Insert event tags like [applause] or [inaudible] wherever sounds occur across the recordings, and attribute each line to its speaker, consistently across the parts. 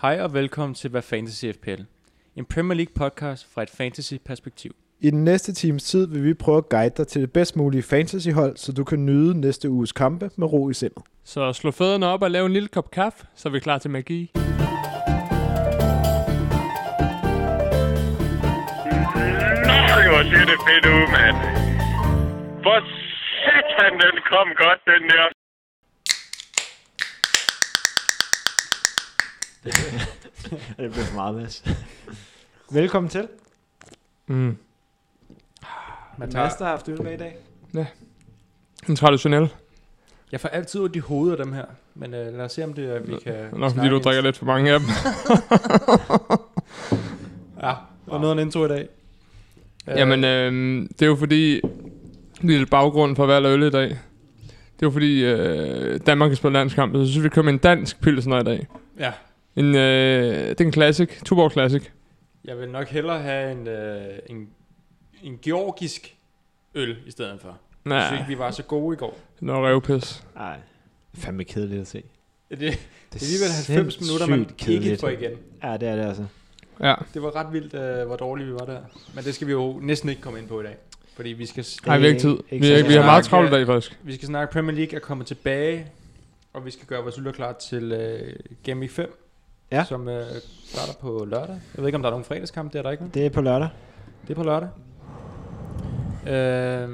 Speaker 1: Hej og velkommen til Hvad Fantasy FPL. En Premier League podcast fra et fantasy-perspektiv.
Speaker 2: I den næste times tid vil vi prøve at guide dig til det bedst mulige fantasyhold, så du kan nyde næste uges kampe med ro i sindet.
Speaker 3: Så slå fødderne op og lav en lille kop kaffe, så er vi klar til magi.
Speaker 4: Nej, hvor ser det fedt ud, mand. For satan, den kom godt, den der.
Speaker 5: Det blev for meget, Mads.
Speaker 2: Velkommen til.
Speaker 3: Mm.
Speaker 2: Mads, der har haft øl med i dag.
Speaker 3: En traditionel.
Speaker 1: Jeg får altid ud i hovedet af dem her, men øh, lad os se, om det er, vi kan
Speaker 3: Nok fordi du drikker lidt for mange af dem.
Speaker 1: Ja, og noget af en intro i dag.
Speaker 3: Øh. Jamen, øh, det er jo fordi... Lille baggrund for valg af øl i dag. Det er jo fordi, øh, Danmark kan spille landskamp, så synes vi, vi kører med en dansk pilsner i dag.
Speaker 1: Ja,
Speaker 3: En, øh, det er en classic, Tuborg Classic.
Speaker 1: jeg vil nok hellere have en, øh, en, en georgisk øl i stedet for. Ja. Jeg synes
Speaker 3: Nej,
Speaker 1: ikke, vi var så gode i går.
Speaker 3: noget revpis.
Speaker 5: Ej, det er fandme kedeligt at se. Det
Speaker 1: Det, det er alligevel 90 minutter, man
Speaker 5: sindssygt
Speaker 1: ikke
Speaker 5: kedeligt.
Speaker 1: får igen.
Speaker 5: Ja, det er det altså.
Speaker 3: Ja.
Speaker 1: Det var ret vildt, øh, hvor dårlige vi var der. Men det skal vi jo næsten ikke komme ind på i dag. Fordi vi skal, s-
Speaker 3: Nej, vi har ikke tid.
Speaker 5: ikke
Speaker 3: Vi,
Speaker 5: så
Speaker 3: er, vi har
Speaker 1: meget.
Speaker 3: meget travlt i dag, faktisk.
Speaker 1: vi skal snakke Premier League er kommet tilbage, og vi skal gøre vores lytter klar til øh, Game Week 5,
Speaker 5: Ja.
Speaker 1: som øh, starter på lørdag. Jeg ved ikke, om der er nogen fredagskamp, det er der ikke. vel?
Speaker 5: Det er på lørdag.
Speaker 1: Det er på lørdag. Øh,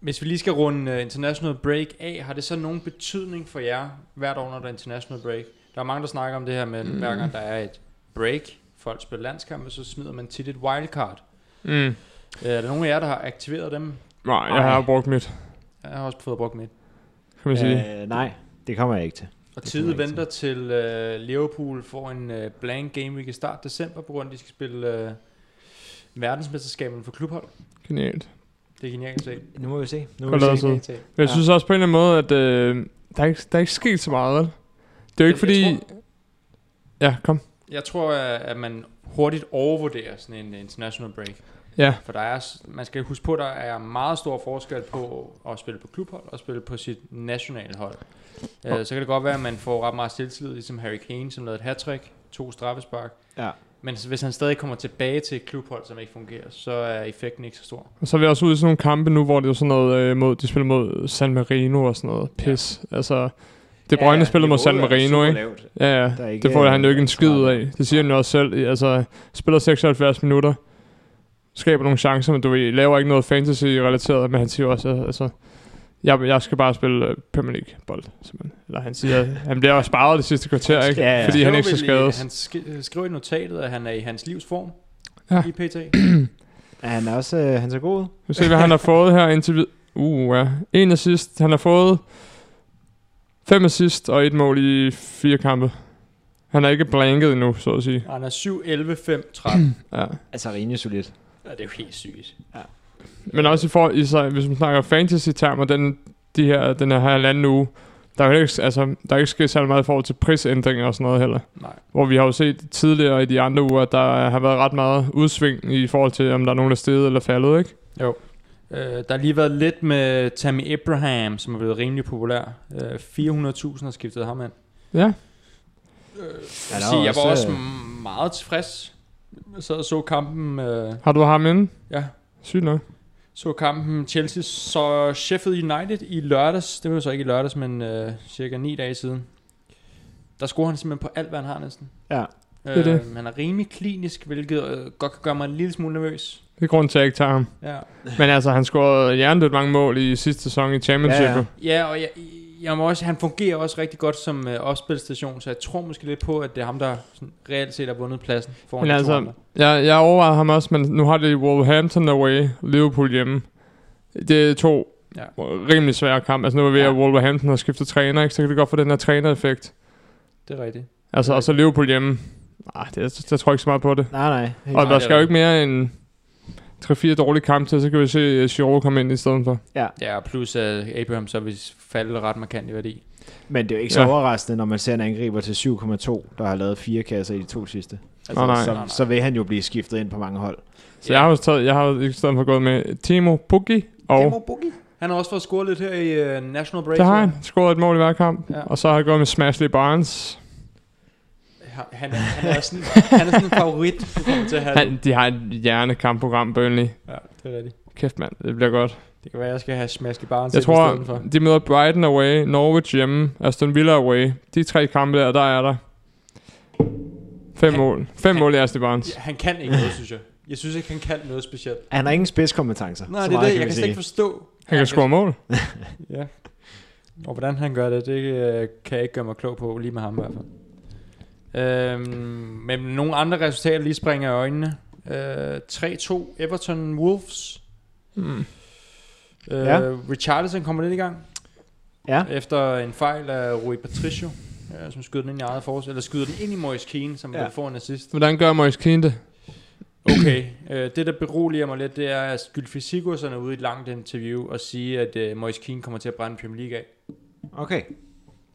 Speaker 1: hvis vi lige skal runde øh, International Break af, har det så nogen betydning for jer hvert år, når der er International Break? Der er mange, der snakker om det her med, mm.
Speaker 3: Mm.
Speaker 1: hver gang der er et break, folk spiller landskampe, så smider man tit et wildcard.
Speaker 3: Mm.
Speaker 1: Øh, er der nogen af jer, der har aktiveret dem?
Speaker 3: Nej, jeg har brugt mit,
Speaker 1: Jeg har også fået brugt mit.
Speaker 3: kan man sige.
Speaker 5: Øh, nej, det kommer jeg ikke til.
Speaker 1: Og
Speaker 5: Det
Speaker 1: tiden
Speaker 5: kommer jeg ikke
Speaker 1: venter til øh, Liverpool får en øh, blank game week i start december, på grund af, at de skal spille øh, verdensmesterskaberne for klubhold.
Speaker 3: Genialt.
Speaker 1: Det er genialt set.
Speaker 5: Nu må vi se. Nu må
Speaker 3: Godt
Speaker 5: vi
Speaker 3: lavet,
Speaker 5: se.
Speaker 3: Sid.
Speaker 1: Genialt set.
Speaker 3: Men jeg
Speaker 5: Ja.
Speaker 3: synes også på en eller anden måde, at øh, der, er ikke, der er ikke sket så meget. vel? Det er jo ikke
Speaker 1: Jeg- jeg
Speaker 3: fordi... Ja, kom.
Speaker 1: Jeg tror, at at man hurtigt overvurderer sådan en international break.
Speaker 3: Ja,
Speaker 1: For der er, s- man skal huske på, at der er meget stor forskel på at spille på klubhold og spille på sit nationale hold. Øh, så kan det godt være, at man får ret meget selvtillid, ligesom Harry Kane, som lavede et hattrick, to straffespark.
Speaker 5: Ja.
Speaker 1: Men s- hvis han stadig kommer tilbage til et klubhold, som ikke fungerer, så er effekten ikke så stor.
Speaker 3: og så er vi også ude i sådan nogle kampe nu, hvor det er sådan noget øh, mod, de spiller mod San Marino og sådan noget. Pis. Altså, det Brøgne ja, spiller mod San Marino, ikke? Ja, ja.
Speaker 5: Der er ikke,
Speaker 3: det får han jo ikke en
Speaker 5: øh,
Speaker 3: skid ud
Speaker 5: travlt.
Speaker 3: af. Det siger han jo også selv. Altså, spiller 76 minutter, skaber nogle chancer, men du ved, laver ikke noget fantasy-relateret, men han siger også, altså, jeg, jeg skal bare spille øh, Premier League-bold, simpelthen. Eller han siger, han bliver jo sparet det sidste kvarter, ikke?
Speaker 5: Ja, ja.
Speaker 3: Fordi han ikke skal
Speaker 1: Skriver vel i-
Speaker 3: skades.
Speaker 1: Han sk- skriver i notatet, at han er i hans livs form
Speaker 3: Ja.
Speaker 1: i PT.
Speaker 5: Er han er også øh, han så god ud?
Speaker 3: Nu se, hvad han har fået her indtil videre. Uh, ja. En assist. Han har fået fem assist og et mål i fire kampe. Han er ikke blanket endnu, så at sige.
Speaker 1: Og han er 7, 11, 5, 13.
Speaker 3: Ja.
Speaker 5: Altså rimelig solidt.
Speaker 1: ja, det er jo helt sygt.
Speaker 3: Men også i for, i sig, hvis man snakker fantasy-termer, den, de her, den her halvanden uge, der er jo ikke, altså, der er ikke sket særlig meget i forhold til prisændringer og sådan noget heller.
Speaker 1: Nej.
Speaker 3: Hvor vi har jo set tidligere i de andre uger, at der har været ret meget udsving i forhold til, om der er nogen, der er steget eller faldet, ikke?
Speaker 1: Øh, der har lige været lidt med Tammy Abraham, som er blevet rimelig populær. Øh, 400.000 har skiftet ham ind.
Speaker 3: Ja.
Speaker 5: Han er
Speaker 1: Så jeg var også
Speaker 5: øh,
Speaker 1: meget tilfreds. Jeg sad og så kampen, øh,
Speaker 3: Har du ham inde?
Speaker 1: ja,
Speaker 3: Sygt nok.
Speaker 1: så kampen Chelsea så Sheffield United i lørdags. Det var jo så ikke i lørdags, men øh, cirka 9 dage siden. Der scorer han simpelthen på alt, hvad han har næsten.
Speaker 5: Ja,
Speaker 1: øh,
Speaker 3: det er det.
Speaker 1: Han er rimelig klinisk, hvilket øh, godt kan gøre mig en lille smule nervøs.
Speaker 3: Det er grunden til, at jeg ikke tager ham.
Speaker 1: Ja.
Speaker 3: Men altså, han scorede hjernedødt mange mål i sidste sæson i Championship.
Speaker 5: Ja,
Speaker 3: Ja,
Speaker 5: ja.
Speaker 3: ja.
Speaker 1: Ja, og jeg, jeg må også, han fungerer også rigtig godt som øh, opspilstation, så jeg tror måske lidt på, at det er ham, der sådan, reelt set har vundet pladsen foran
Speaker 3: Men
Speaker 1: de to
Speaker 3: altså,
Speaker 1: andre.
Speaker 3: Jeg, jeg overvejede ham også, men nu har det Wolverhampton away, Liverpool hjemme. Det er to
Speaker 1: Ja.
Speaker 3: ja. rimelig svære kampe. Altså nu er vi ved,
Speaker 1: Ja.
Speaker 3: at Wolverhampton har skiftet træner, ikke? så kan det godt få den her trænereffekt.
Speaker 1: Det er rigtigt.
Speaker 3: Altså,
Speaker 1: Det er
Speaker 3: og så Liverpool hjemme. Nej, det, der tror jeg ikke så meget på det.
Speaker 5: Nej, nej. Helt.
Speaker 3: Og
Speaker 1: det er
Speaker 3: der skal jo
Speaker 1: rigtigt.
Speaker 3: ikke mere end 3-4 dårlige kampe til, så kan vi se Giroud komme ind i stedet for.
Speaker 1: Ja, og plus at Abraham så vil falde ret markant i værdi.
Speaker 5: Men det er jo ikke så
Speaker 3: Ja.
Speaker 5: overraskende, når man ser en angriber til 7,2, der har lavet fire kasser i de to sidste. Altså,
Speaker 3: Nå, nej.
Speaker 5: Så,
Speaker 1: Nå, nej.
Speaker 5: så vil han jo blive skiftet ind på mange hold.
Speaker 3: Så jeg har jo taget, jeg har jo i stedet for gået med Timo Pukki, og
Speaker 1: Demo Boogie. Han har også fået scoret lidt her i uh, National Break.
Speaker 3: det har han. Scoret et mål i hver kamp.
Speaker 1: Ja.
Speaker 3: Ja. Og så har jeg gået med Smashley Barnes.
Speaker 1: han, han, er- han, er sådan, han er sådan en favorit, du kommer til at have.
Speaker 3: Han, de har et hjernekampprogram, Burnley.
Speaker 1: Ja, det er rigtigt.
Speaker 3: Kæft mand, det bliver godt.
Speaker 1: Det kan være, jeg skal have smask i baren
Speaker 3: Jeg
Speaker 1: selv i
Speaker 3: tror,
Speaker 1: stedet for.
Speaker 3: de møder Brighton away, Norwich hjemme, Aston Villa away. De tre kampe der, der er der. Fem
Speaker 1: Han-
Speaker 3: mål. Fem
Speaker 1: han-
Speaker 3: mål i Aston Barnes.
Speaker 1: Ja, han kan ikke noget, synes jeg. Jeg synes ikke, han kan noget specielt.
Speaker 5: Han har ingen spidskompetencer.
Speaker 1: Nej,
Speaker 5: så
Speaker 1: det er
Speaker 5: meget
Speaker 1: det, jeg
Speaker 5: vi
Speaker 1: kan slet
Speaker 5: sige.
Speaker 1: ikke forstå.
Speaker 3: Han kan score mål.
Speaker 1: Ja. Og hvordan han gør det, det øh, kan jeg ikke gøre mig klog på, lige med ham i hvert fald. Øhm, men nogle andre resultater lige springer i øjnene. Øh, 3-2 Everton Wolves.
Speaker 3: Mm.
Speaker 1: Øh,
Speaker 5: Ja.
Speaker 1: Richarlison kommer lidt i gang.
Speaker 5: Ja.
Speaker 1: Efter en fejl af Rui Patricio, øh, som skyder den ind i eget forsvar, eller skyder den ind i Moise Keane, som
Speaker 5: Ja.
Speaker 1: ja. vil få en assist.
Speaker 3: Hvordan gør Moise Keane det?
Speaker 1: Okay, øh, det der beroliger mig lidt, det er, at Gylfi Sigurdsson er ude i et langt interview og sige, at øh, Moise Keane kommer til at brænde Premier League af.
Speaker 5: Okay.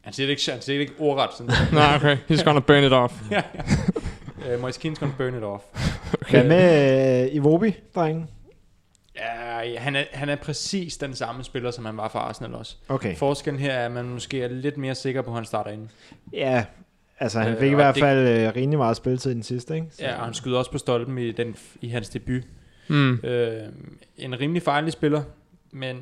Speaker 1: Han siger det ikke, han siger det ikke ordret. Sådan.
Speaker 3: [laughs] Nej, okay. He's gonna burn it off.
Speaker 1: [laughs] ja, ja. Øh, Moise Keane's gonna burn it off.
Speaker 5: Hvad med øh, Iwobi, drenge?
Speaker 1: Ja, han, er, han er præcis den samme spiller, som han var for Arsenal også.
Speaker 5: Okay.
Speaker 1: Forskellen her er, at man måske er lidt mere sikker på, at han starter inden.
Speaker 5: Ja, altså han
Speaker 1: Øh,
Speaker 5: fik i
Speaker 1: og
Speaker 5: hvert
Speaker 1: det-
Speaker 5: fald øh, rimelig meget spilletid i den sidste, ikke? Så-
Speaker 1: Ja, og han skyder også på stolpen i, den, i hans debut.
Speaker 3: Mm.
Speaker 1: Øh, en rimelig farlig spiller, men...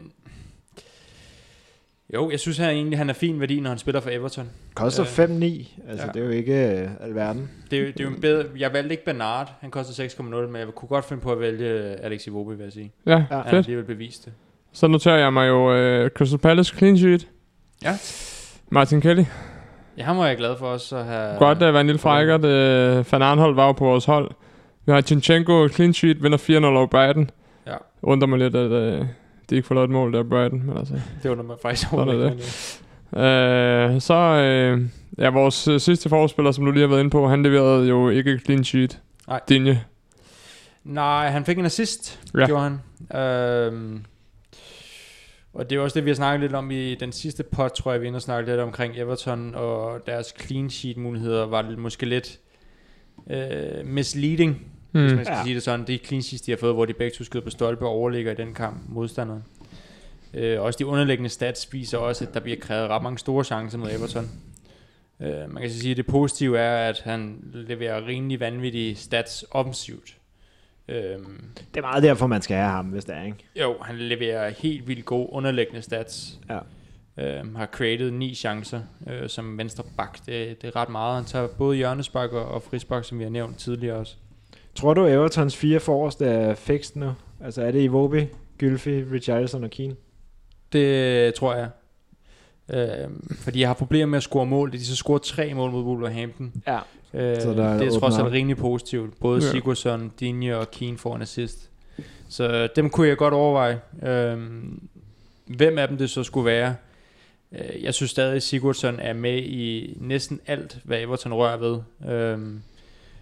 Speaker 1: Jo, jeg synes han egentlig, han er fin værdi, når han spiller for Everton.
Speaker 5: Koster
Speaker 1: Øh,
Speaker 5: 5-9, altså
Speaker 1: ja.
Speaker 5: det er jo ikke øh, alverden.
Speaker 1: Det, er jo- det er jo en bedre... Jeg valgte ikke Bernard, han koster 6,0, men jeg kunne godt finde på at vælge øh, Alex Iwobi, vil jeg sige.
Speaker 3: Ja,
Speaker 5: Ja.
Speaker 1: Han har
Speaker 3: Ah, fedt.
Speaker 1: alligevel bevist det.
Speaker 3: Så noterer jeg mig jo øh, Crystal Palace clean sheet.
Speaker 1: Ja.
Speaker 3: Martin Kelly.
Speaker 1: Ja, ham var jeg glad for også at have...
Speaker 3: Godt at være en lille frækkert. Øh, Van Arnhold var jo på vores hold. Vi har Chinchenko, clean sheet, vinder 4-0 over Brighton.
Speaker 1: Ja.
Speaker 3: Undrer mig lidt, at øh, de ikke får lavet et mål der Brighton. Men altså.
Speaker 1: Det undrer mig faktisk
Speaker 3: er
Speaker 1: overhovedet
Speaker 3: det.
Speaker 1: ikke.
Speaker 3: øh, så øh, ja, vores øh, sidste forspiller, som du lige har været inde på, han leverede jo ikke et clean sheet.
Speaker 1: Nej.
Speaker 3: Dinje.
Speaker 1: Nej, han fik en assist,
Speaker 3: Ja.
Speaker 1: ja. gjorde han. Øhm, og det er jo også det, vi har snakket lidt om i den sidste pot, tror jeg, vi ender snakket lidt omkring Everton, og deres clean sheet muligheder var lidt- måske lidt øh, misleading, mm. hvis
Speaker 3: Mm.
Speaker 1: man skal
Speaker 5: Ja.
Speaker 1: ja. sige det sådan. Det clean sheets, de har fået, hvor de begge to skyder på stolpe og overligger i den kamp modstanderen. Øh, også de underliggende stats viser også, at der bliver krævet ret mange store chancer mod Everton. Øh, man kan så sige, at det positive er, at han leverer rimelig vanvittige stats offensivt. Øhm,
Speaker 5: Det er meget derfor, man skal have ham, hvis det er, ikke?
Speaker 1: jo, han leverer helt vildt gode underliggende stats.
Speaker 5: Ja.
Speaker 1: Øhm, har created ni chancer øh, som venstre bak. Det, det er ret meget. Han tager både hjørnespark og, og frispark, som vi har nævnt tidligere også.
Speaker 5: Tror du, Evertons fire forrest er fikst nu? Altså er det Iwobi, Gylfi, Richarlison og Keane?
Speaker 1: Det tror jeg. Øhm, fordi jeg har problemer med at score mål. De så scoret tre mål mod Wolverhampton.
Speaker 5: Ja.
Speaker 1: Øh,
Speaker 5: Så
Speaker 1: så
Speaker 5: der er
Speaker 1: der det er trods
Speaker 5: åbnet
Speaker 1: alt
Speaker 5: op.
Speaker 1: rimelig positivt. Både
Speaker 3: Ja.
Speaker 1: ja. Sigurdsson, Dinje og Keane får en assist. Så øh, dem kunne jeg godt overveje. Øhm, hvem af dem det så skulle være. Øh, jeg synes stadig, at Sigurdsson er med i næsten alt, hvad Everton rører ved. Øhm,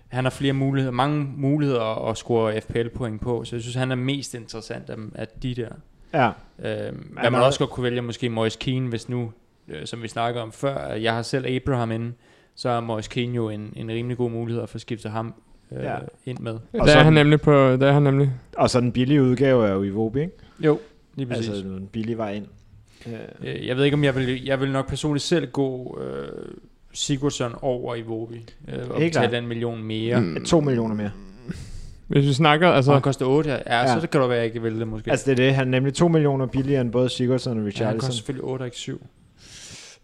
Speaker 1: han har flere muligheder, mange muligheder at score FPL-point på, så jeg synes, han er mest interessant af, af de der.
Speaker 5: Ja,
Speaker 1: Øhm, hvad
Speaker 5: Han
Speaker 1: man
Speaker 5: er-
Speaker 1: også godt kunne vælge, er måske Moise Keane, hvis nu, øh, som vi snakkede om før, at jeg har selv Abraham inde, så er Moise Keane jo en, en rimelig god mulighed at få skiftet ham øh,
Speaker 5: Ja.
Speaker 1: ja. ind med.
Speaker 3: Der er
Speaker 5: sådan-
Speaker 3: han nemlig på, der er han nemlig.
Speaker 5: og så den billige udgave er jo Iwobi, ikke?
Speaker 1: Jo, lige præcis.
Speaker 5: Altså
Speaker 1: Altså,
Speaker 5: den billige vej ind. Øh,
Speaker 1: øh, jeg ved ikke, om jeg vil, jeg vil nok personligt selv gå øh, Sigurdsson over i Vobi, øh, og
Speaker 5: Helt klart.
Speaker 1: betale den million mere. Mm.
Speaker 5: to millioner mere.
Speaker 3: Hvis vi snakker,
Speaker 1: Så han
Speaker 3: altså...
Speaker 1: koster 8, ja, ja,
Speaker 5: Ja.
Speaker 1: så det kan det være, at jeg ikke vil det måske.
Speaker 5: Altså det er det, han er nemlig to millioner billigere end både Sigurdsson og
Speaker 1: Ja, han koster
Speaker 5: Richarlison.
Speaker 1: selvfølgelig 8 og ikke 7.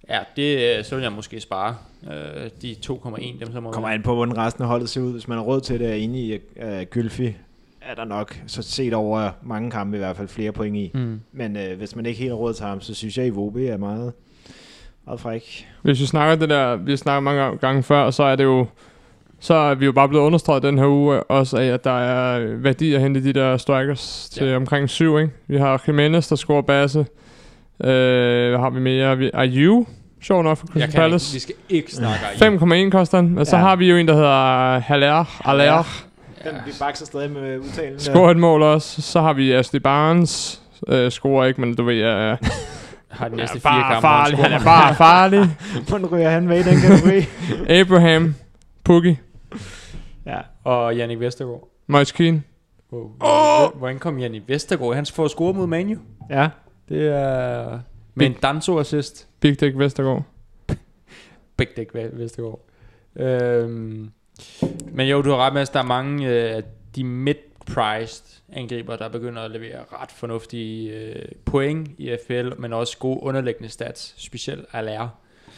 Speaker 1: Ja, det, øh, så vil jeg måske spare øh, de 2,1, dem som må
Speaker 5: Kommer an på, hvordan resten af holdet ser ud. Hvis man har råd til det, er inde i uh, Gylfi, er der nok, så set over mange kampe i hvert fald, flere point i.
Speaker 1: Mm.
Speaker 5: Men øh, hvis man ikke helt har råd til ham, så synes jeg, at Iwobi er meget, meget fræk.
Speaker 3: Hvis vi snakker det der, vi har snakket mange gange før, så er det jo, så er vi jo bare blevet understreget den her uge øh, også af, at der er øh, værdi at hente i de der strikers til ja.
Speaker 1: Ja.
Speaker 3: omkring syv, ikke? Vi har Jimenez, der scorer basse. Øh, hvad har vi mere? Vi, IU, sjov nok for
Speaker 1: Jeg kan
Speaker 3: Crystal
Speaker 1: ikke, vi
Speaker 3: Palace.
Speaker 1: skal ikke snakke om
Speaker 3: 5,1 koster han. Og så
Speaker 5: Ja.
Speaker 3: har vi jo en, der hedder Haller. Haller.
Speaker 5: Den, vi bakser stadig med øh, udtalen.
Speaker 3: Scorer et mål også. Så har vi Ashley Barnes. Øh, scorer ikke, men du ved, øh,
Speaker 1: har de næste fire
Speaker 3: bare
Speaker 1: kampe.
Speaker 3: farlig. Han er bare farlig.
Speaker 1: [laughs]
Speaker 5: Hvordan ryger han med i den kategori?
Speaker 3: Abraham. Pukki.
Speaker 5: [laughs] ja.
Speaker 1: Og Jannik Vestergaard.
Speaker 3: Moise Keane.
Speaker 1: Wow. Oh! Hvordan kom Jannik Vestergaard? Han får score mod Manu.
Speaker 5: ja.
Speaker 1: Det er... Med en danso assist.
Speaker 3: Big Dick Vestergaard.
Speaker 1: Big Dick Ve- Vestergaard. Øhm, men jo, du har ret med, at der er mange øh, af de mid-priced angriber, der begynder at levere ret fornuftige øh, point i FPL, men også gode underliggende stats, specielt Allaire.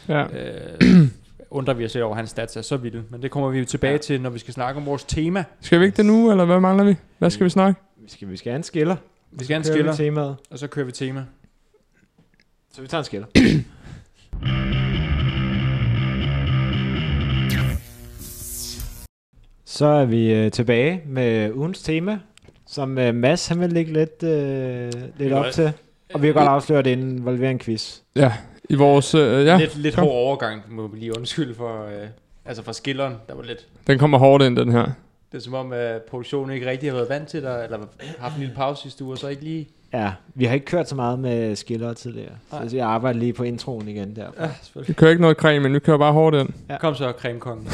Speaker 3: Ja.
Speaker 1: Øh, [clears throat] undrer vi os lidt over, at hans stats er så vilde, men det kommer vi jo tilbage ja. til, når vi skal snakke om vores tema.
Speaker 3: Skal vi ikke det nu, eller hvad mangler vi? Hvad skal vi snakke?
Speaker 5: Vi skal, vi skal have en skiller.
Speaker 1: Vi skal have en
Speaker 5: Kører vi
Speaker 1: skiller,
Speaker 5: Temaet.
Speaker 1: og så kører vi tema.
Speaker 5: Så vi tager en skiller. Så er vi øh, tilbage med ugens tema, som øh, Mads han vil lægge lidt, øh, lidt op til. Og vi har godt afsløret det involverer en quiz.
Speaker 3: Ja, i vores... Øh, ja,
Speaker 1: lidt lidt
Speaker 3: kom.
Speaker 1: hård overgang, må vi lige undskylde for, øh, altså for skilleren, der var lidt...
Speaker 3: den kommer hårdt ind, den her.
Speaker 1: Det er som om, at produktionen ikke rigtig har været vant til dig, eller haft en lille pause sidste uge, og så ikke lige...
Speaker 5: Ja, vi har ikke kørt så meget med skiller tidligere. Så
Speaker 1: Nej.
Speaker 5: altså, jeg arbejder lige på introen igen der.
Speaker 1: Ja,
Speaker 3: Vi
Speaker 1: selvfølgelig.
Speaker 3: kører ikke noget creme, men vi kører bare hårdt ind.
Speaker 5: Ja.
Speaker 1: Kom så, cremekongen.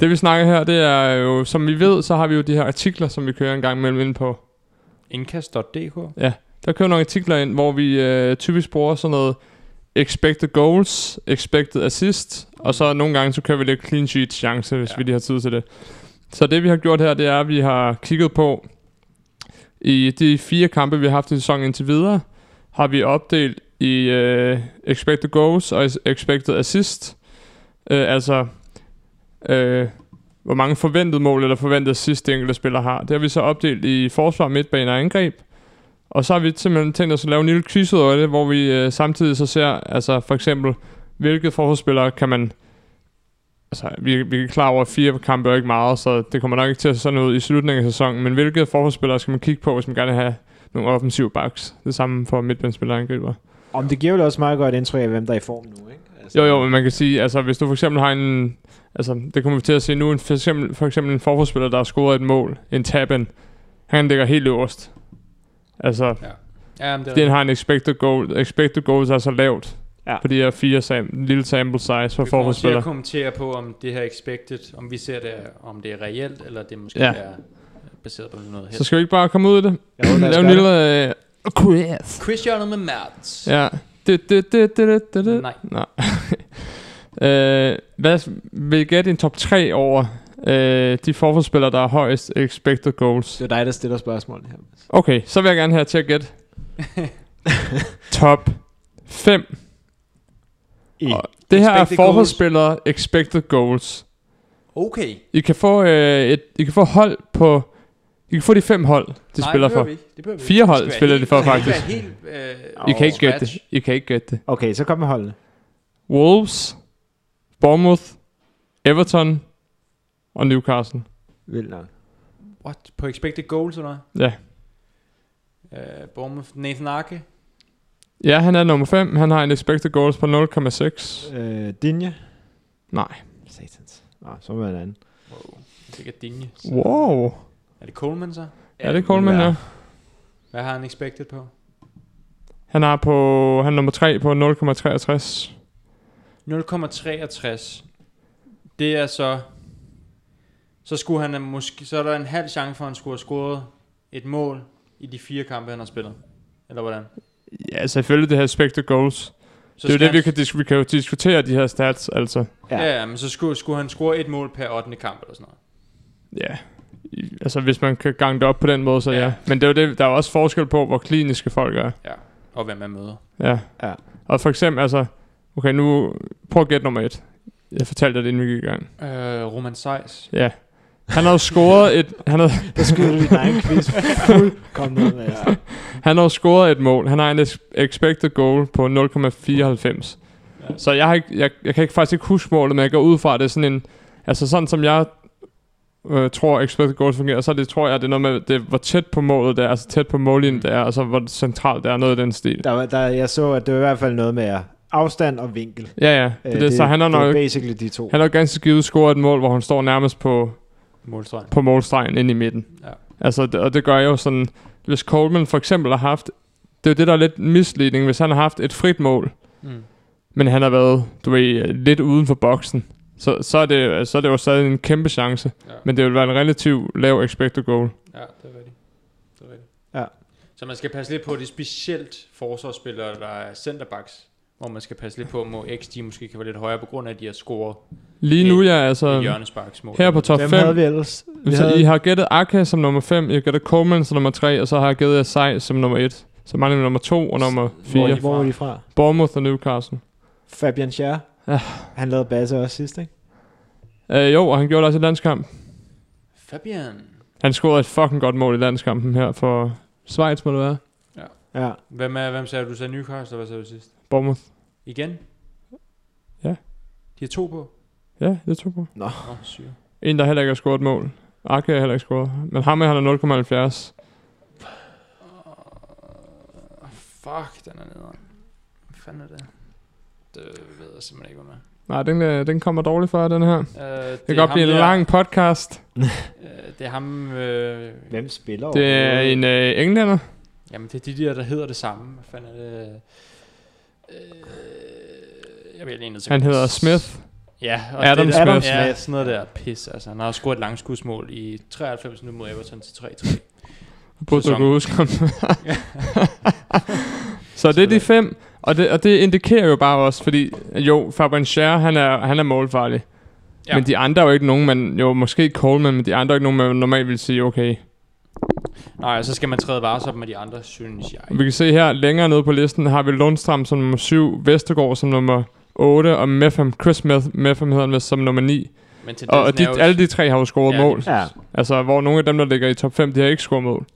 Speaker 3: Det vi snakker her, det er jo... Som vi ved, så har vi jo de her artikler, som vi kører en gang imellem ind på.
Speaker 1: Indkast.dk.
Speaker 3: Der kører nogle artikler ind, hvor vi øh, typisk bruger sådan noget expected goals, expected assist, og så nogle gange så kører vi lidt clean sheet chance, hvis
Speaker 1: Ja.
Speaker 3: ja. vi lige har tid til det. Så det vi har gjort her, det er, at vi har kigget på, i de fire kampe, vi har haft i sæsonen indtil videre, har vi opdelt i øh, expected goals og expected assist. Øh, altså, øh, hvor mange forventede mål eller forventede assist, de enkelte spiller har. Det har vi så opdelt i forsvar, midtbane og angreb. Og så har vi simpelthen tænkt os at lave en lille quiz ud over det, hvor vi øh, samtidig så ser, altså for eksempel, hvilke forsvarsspillere kan man... Altså, vi, vi er klar over, at fire kampe er ikke meget, så det kommer nok ikke til at se sådan ud i slutningen af sæsonen. Men hvilke forsvarsspillere skal man kigge på, hvis man gerne vil have nogle offensive backs? Det samme for midtbanespillere og angriber.
Speaker 5: Om det giver jo også meget godt indtryk af, hvem der er i form nu, ikke? Altså,
Speaker 3: Jo, jo, men man kan sige, altså hvis du for eksempel har en, altså det kommer vi til at se nu, en, for, eksempel, for eksempel en forforspiller, der har scoret et mål, en taben, han ligger helt øverst. Altså,
Speaker 1: Ja, men det er
Speaker 3: den har en expected goal, expected goals er så lavt,
Speaker 5: Ja.
Speaker 3: ja. på de her fire sam, en lille sample size
Speaker 1: vi
Speaker 3: for
Speaker 1: kommer til at
Speaker 3: forforspillere.
Speaker 1: kommentere på, om det her expected, om vi ser det, om det er reelt, eller det måske ja.
Speaker 3: Ja.
Speaker 1: er baseret på noget
Speaker 3: Så
Speaker 1: helt.
Speaker 3: skal vi ikke bare komme ud af det?
Speaker 5: Jo, lad os
Speaker 3: Lav en
Speaker 5: gøre
Speaker 3: lille... Øh, quiz.
Speaker 1: Christian med Mertz.
Speaker 3: Ja. Det, det, det, det, det, det, det.
Speaker 1: Nej.
Speaker 3: Nej. [laughs] øh, hvad vil I gætte en top 3 over øh, de forforspillere, der har højest expected goals?
Speaker 5: Det er dig, der stiller spørgsmål her.
Speaker 3: Okay, så vil jeg gerne have jer til at gætte. Top 5.
Speaker 5: I
Speaker 3: Og det her er
Speaker 5: expected goals.
Speaker 3: forholdsspillere expected goals.
Speaker 1: Okay.
Speaker 3: I kan få, øh, et, I kan få hold på... I kan få de fem hold, de
Speaker 1: Nej,
Speaker 3: spiller
Speaker 1: det behøver
Speaker 3: for.
Speaker 1: Vi. ikke. Det behøver vi.
Speaker 3: Fire hold
Speaker 1: skal være
Speaker 3: spiller de
Speaker 1: helt-
Speaker 3: for,
Speaker 1: skal
Speaker 3: faktisk.
Speaker 1: være helt, øh,
Speaker 3: I kan ikke gætte det.
Speaker 1: scratch.
Speaker 3: I kan ikke gætte det.
Speaker 5: Okay, så kom med holdene.
Speaker 3: Wolves, Bournemouth, Everton og Newcastle.
Speaker 5: Vildt nok.
Speaker 1: What? På expected goals eller noget?
Speaker 3: Ja.
Speaker 1: Øh, Bournemouth, Nathan Arke.
Speaker 3: Ja, han er nummer 5. Han har en expected goals på 0,6.
Speaker 5: Øh, Dinje.
Speaker 3: Nej.
Speaker 5: Satans. Nå, så må jeg en anden.
Speaker 1: Wow. Det er Dinje.
Speaker 3: Wow.
Speaker 1: Er det Coleman så?
Speaker 3: Er det Coleman,
Speaker 5: Ja.
Speaker 3: ja?
Speaker 1: Hvad har han expected på?
Speaker 3: Han har på... Han er nummer 3 på 0,63.
Speaker 1: 0,63. Det er så... Så, skulle han måske, så er der en halv chance for, at han skulle have scoret et mål i de fire kampe, han har spillet. Eller hvordan?
Speaker 3: Ja, selvfølgelig det her expected goals.
Speaker 1: Så
Speaker 3: Så det er
Speaker 1: skal
Speaker 3: jo det, vi
Speaker 1: han,
Speaker 3: kan, dis- vi kan jo diskutere de her stats, altså.
Speaker 5: Ja.
Speaker 1: Ja, ja, men så skulle, skulle han score et mål per 8. kamp eller sådan noget.
Speaker 3: Ja. I- Altså, hvis man kan gange det op på den måde, så ja.
Speaker 1: Ja.
Speaker 3: ja. Men det er jo det, der er jo også forskel på, hvor kliniske folk er.
Speaker 1: Og hvem man møder.
Speaker 3: Ja.
Speaker 5: Ja.
Speaker 3: Og for eksempel, altså... Okay, nu prøv at gætte nummer et. Jeg fortalte dig det, inden vi gik i gang.
Speaker 1: Øh, Roman Seiss.
Speaker 3: Ja. Han har jo scoret et, han har,
Speaker 5: Der skyder vi dig en quiz fuldkommen ned med. Ja.
Speaker 3: han har jo scoret et mål. Han har en ex- expected goal på 0,94.
Speaker 1: Ja.
Speaker 3: Så jeg, har ikke, jeg, jeg kan ikke faktisk ikke huske målet, men jeg går ud fra, at det er sådan en... Altså sådan som jeg øh, tror, expected goals fungerer, så er det, tror jeg, det er noget med, det, er, hvor tæt på målet det er, altså tæt på mållinjen det er, altså hvor centralt det er, noget i den stil.
Speaker 5: Der, var- der, jeg så, at det var i hvert fald noget med øh, afstand og vinkel.
Speaker 3: Ja, ja.
Speaker 5: Øh,
Speaker 3: Det, er det, så han har
Speaker 5: det er
Speaker 3: nok,
Speaker 5: basically de to.
Speaker 3: han har ganske givet scoret et mål, hvor han står nærmest på,
Speaker 1: Målstregen.
Speaker 3: på målstregen ind i midten.
Speaker 1: Ja.
Speaker 3: Altså, det- og det gør jo sådan, hvis Coleman for eksempel har haft, det er jo det, der er lidt misledning, hvis han har haft et frit mål,
Speaker 1: Mm.
Speaker 3: men han har været, du ved, lidt uden for boksen, så, så, er det, så er det jo stadig en kæmpe chance.
Speaker 1: Ja.
Speaker 3: Men det vil være en relativt lav expected goal.
Speaker 1: Ja, det er rigtigt. Det er rigtigt.
Speaker 5: Ja.
Speaker 1: Så man skal passe lidt på, at det er specielt forsvarsspillere, der er centerbacks, hvor man skal passe lidt på, må XG måske kan være lidt højere, på grund af, at de har scoret
Speaker 3: Lige nu,
Speaker 1: Et-
Speaker 3: jeg er altså
Speaker 1: i hjørnesparksmål.
Speaker 3: her på top
Speaker 5: Hvem havde
Speaker 3: 5.
Speaker 5: vi ellers? Vi
Speaker 3: Hvis havde... I
Speaker 5: havde,
Speaker 3: har gættet Akka som nummer 5, I har gættet Coleman som nummer 3, og så har jeg gættet Asai som nummer 1. Så mangler vi nummer 2 og nummer
Speaker 5: hvor,
Speaker 3: 4.
Speaker 1: fire.
Speaker 5: hvor var de fra?
Speaker 3: Bournemouth og Newcastle.
Speaker 5: Fabian Scher.
Speaker 3: Ja.
Speaker 5: Han lavede basse også sidst, ikke?
Speaker 3: Uh, jo, og han gjorde det også i landskamp.
Speaker 1: Fabian.
Speaker 3: Han scorede et fucking godt mål i landskampen her for Schweiz, må det være.
Speaker 5: Ja.
Speaker 1: Hvem, er, hvem sagde du? Du sagde Newcastle, hvad sagde du sidst?
Speaker 3: Bournemouth.
Speaker 1: Igen?
Speaker 3: Ja.
Speaker 1: De har to på.
Speaker 3: Ja, det tror jeg. på.
Speaker 1: Åh, oh, syre.
Speaker 3: En, der heller ikke har scoret et mål. Akka har heller ikke scoret. Men ham her, han er 0,70.
Speaker 1: Fuck, den er nederen. Hvad fanden er det? Det ved jeg simpelthen ikke, hvad med.
Speaker 3: Nej, den, øh, den kommer dårligt for jer, den her.
Speaker 1: Uh, det,
Speaker 3: Det kan godt
Speaker 1: ham
Speaker 3: blive en
Speaker 1: der-
Speaker 3: lang podcast.
Speaker 1: Øh, det er ham... Øh,
Speaker 5: Hvem spiller
Speaker 3: Det er en øh, englænder.
Speaker 1: jamen, det er de der, der hedder det samme. Hvad fanden er det? Øh, jeg bliver lige nødt til at-
Speaker 3: Han hedder Smith.
Speaker 1: Ja,
Speaker 3: Adam
Speaker 1: det der,
Speaker 3: Smith.
Speaker 1: Ja, sådan noget der pis. Altså, han har også scoret et langskudsmål i 93 nu mod Everton til 3-3.
Speaker 3: Burde du
Speaker 1: Sæson.
Speaker 3: kunne huske ham. Så det er de fem, og det, og det indikerer jo bare også, fordi jo, Fabian Scher, han er, han er målfarlig.
Speaker 1: Ja.
Speaker 3: Ja. Men de andre er jo ikke nogen, man, jo måske Coleman, men de andre er ikke nogen, man normalt vil sige, okay.
Speaker 1: Nej, og så skal man træde varsomt med de andre, synes jeg.
Speaker 3: Vi kan se her, længere nede på listen har vi Lundstrøm som nummer 7, Vestergaard som nummer 8, og Meffam, Chris Meth, Meffam hedder han vist, som nummer 9.
Speaker 1: Men til
Speaker 3: Og, og de, alle de tre har jo scoret
Speaker 1: Ja,
Speaker 3: ja,
Speaker 1: lige
Speaker 3: mål.
Speaker 5: Ja.
Speaker 3: Altså, hvor nogle af dem, der ligger i top 5, de har ikke scoret mål.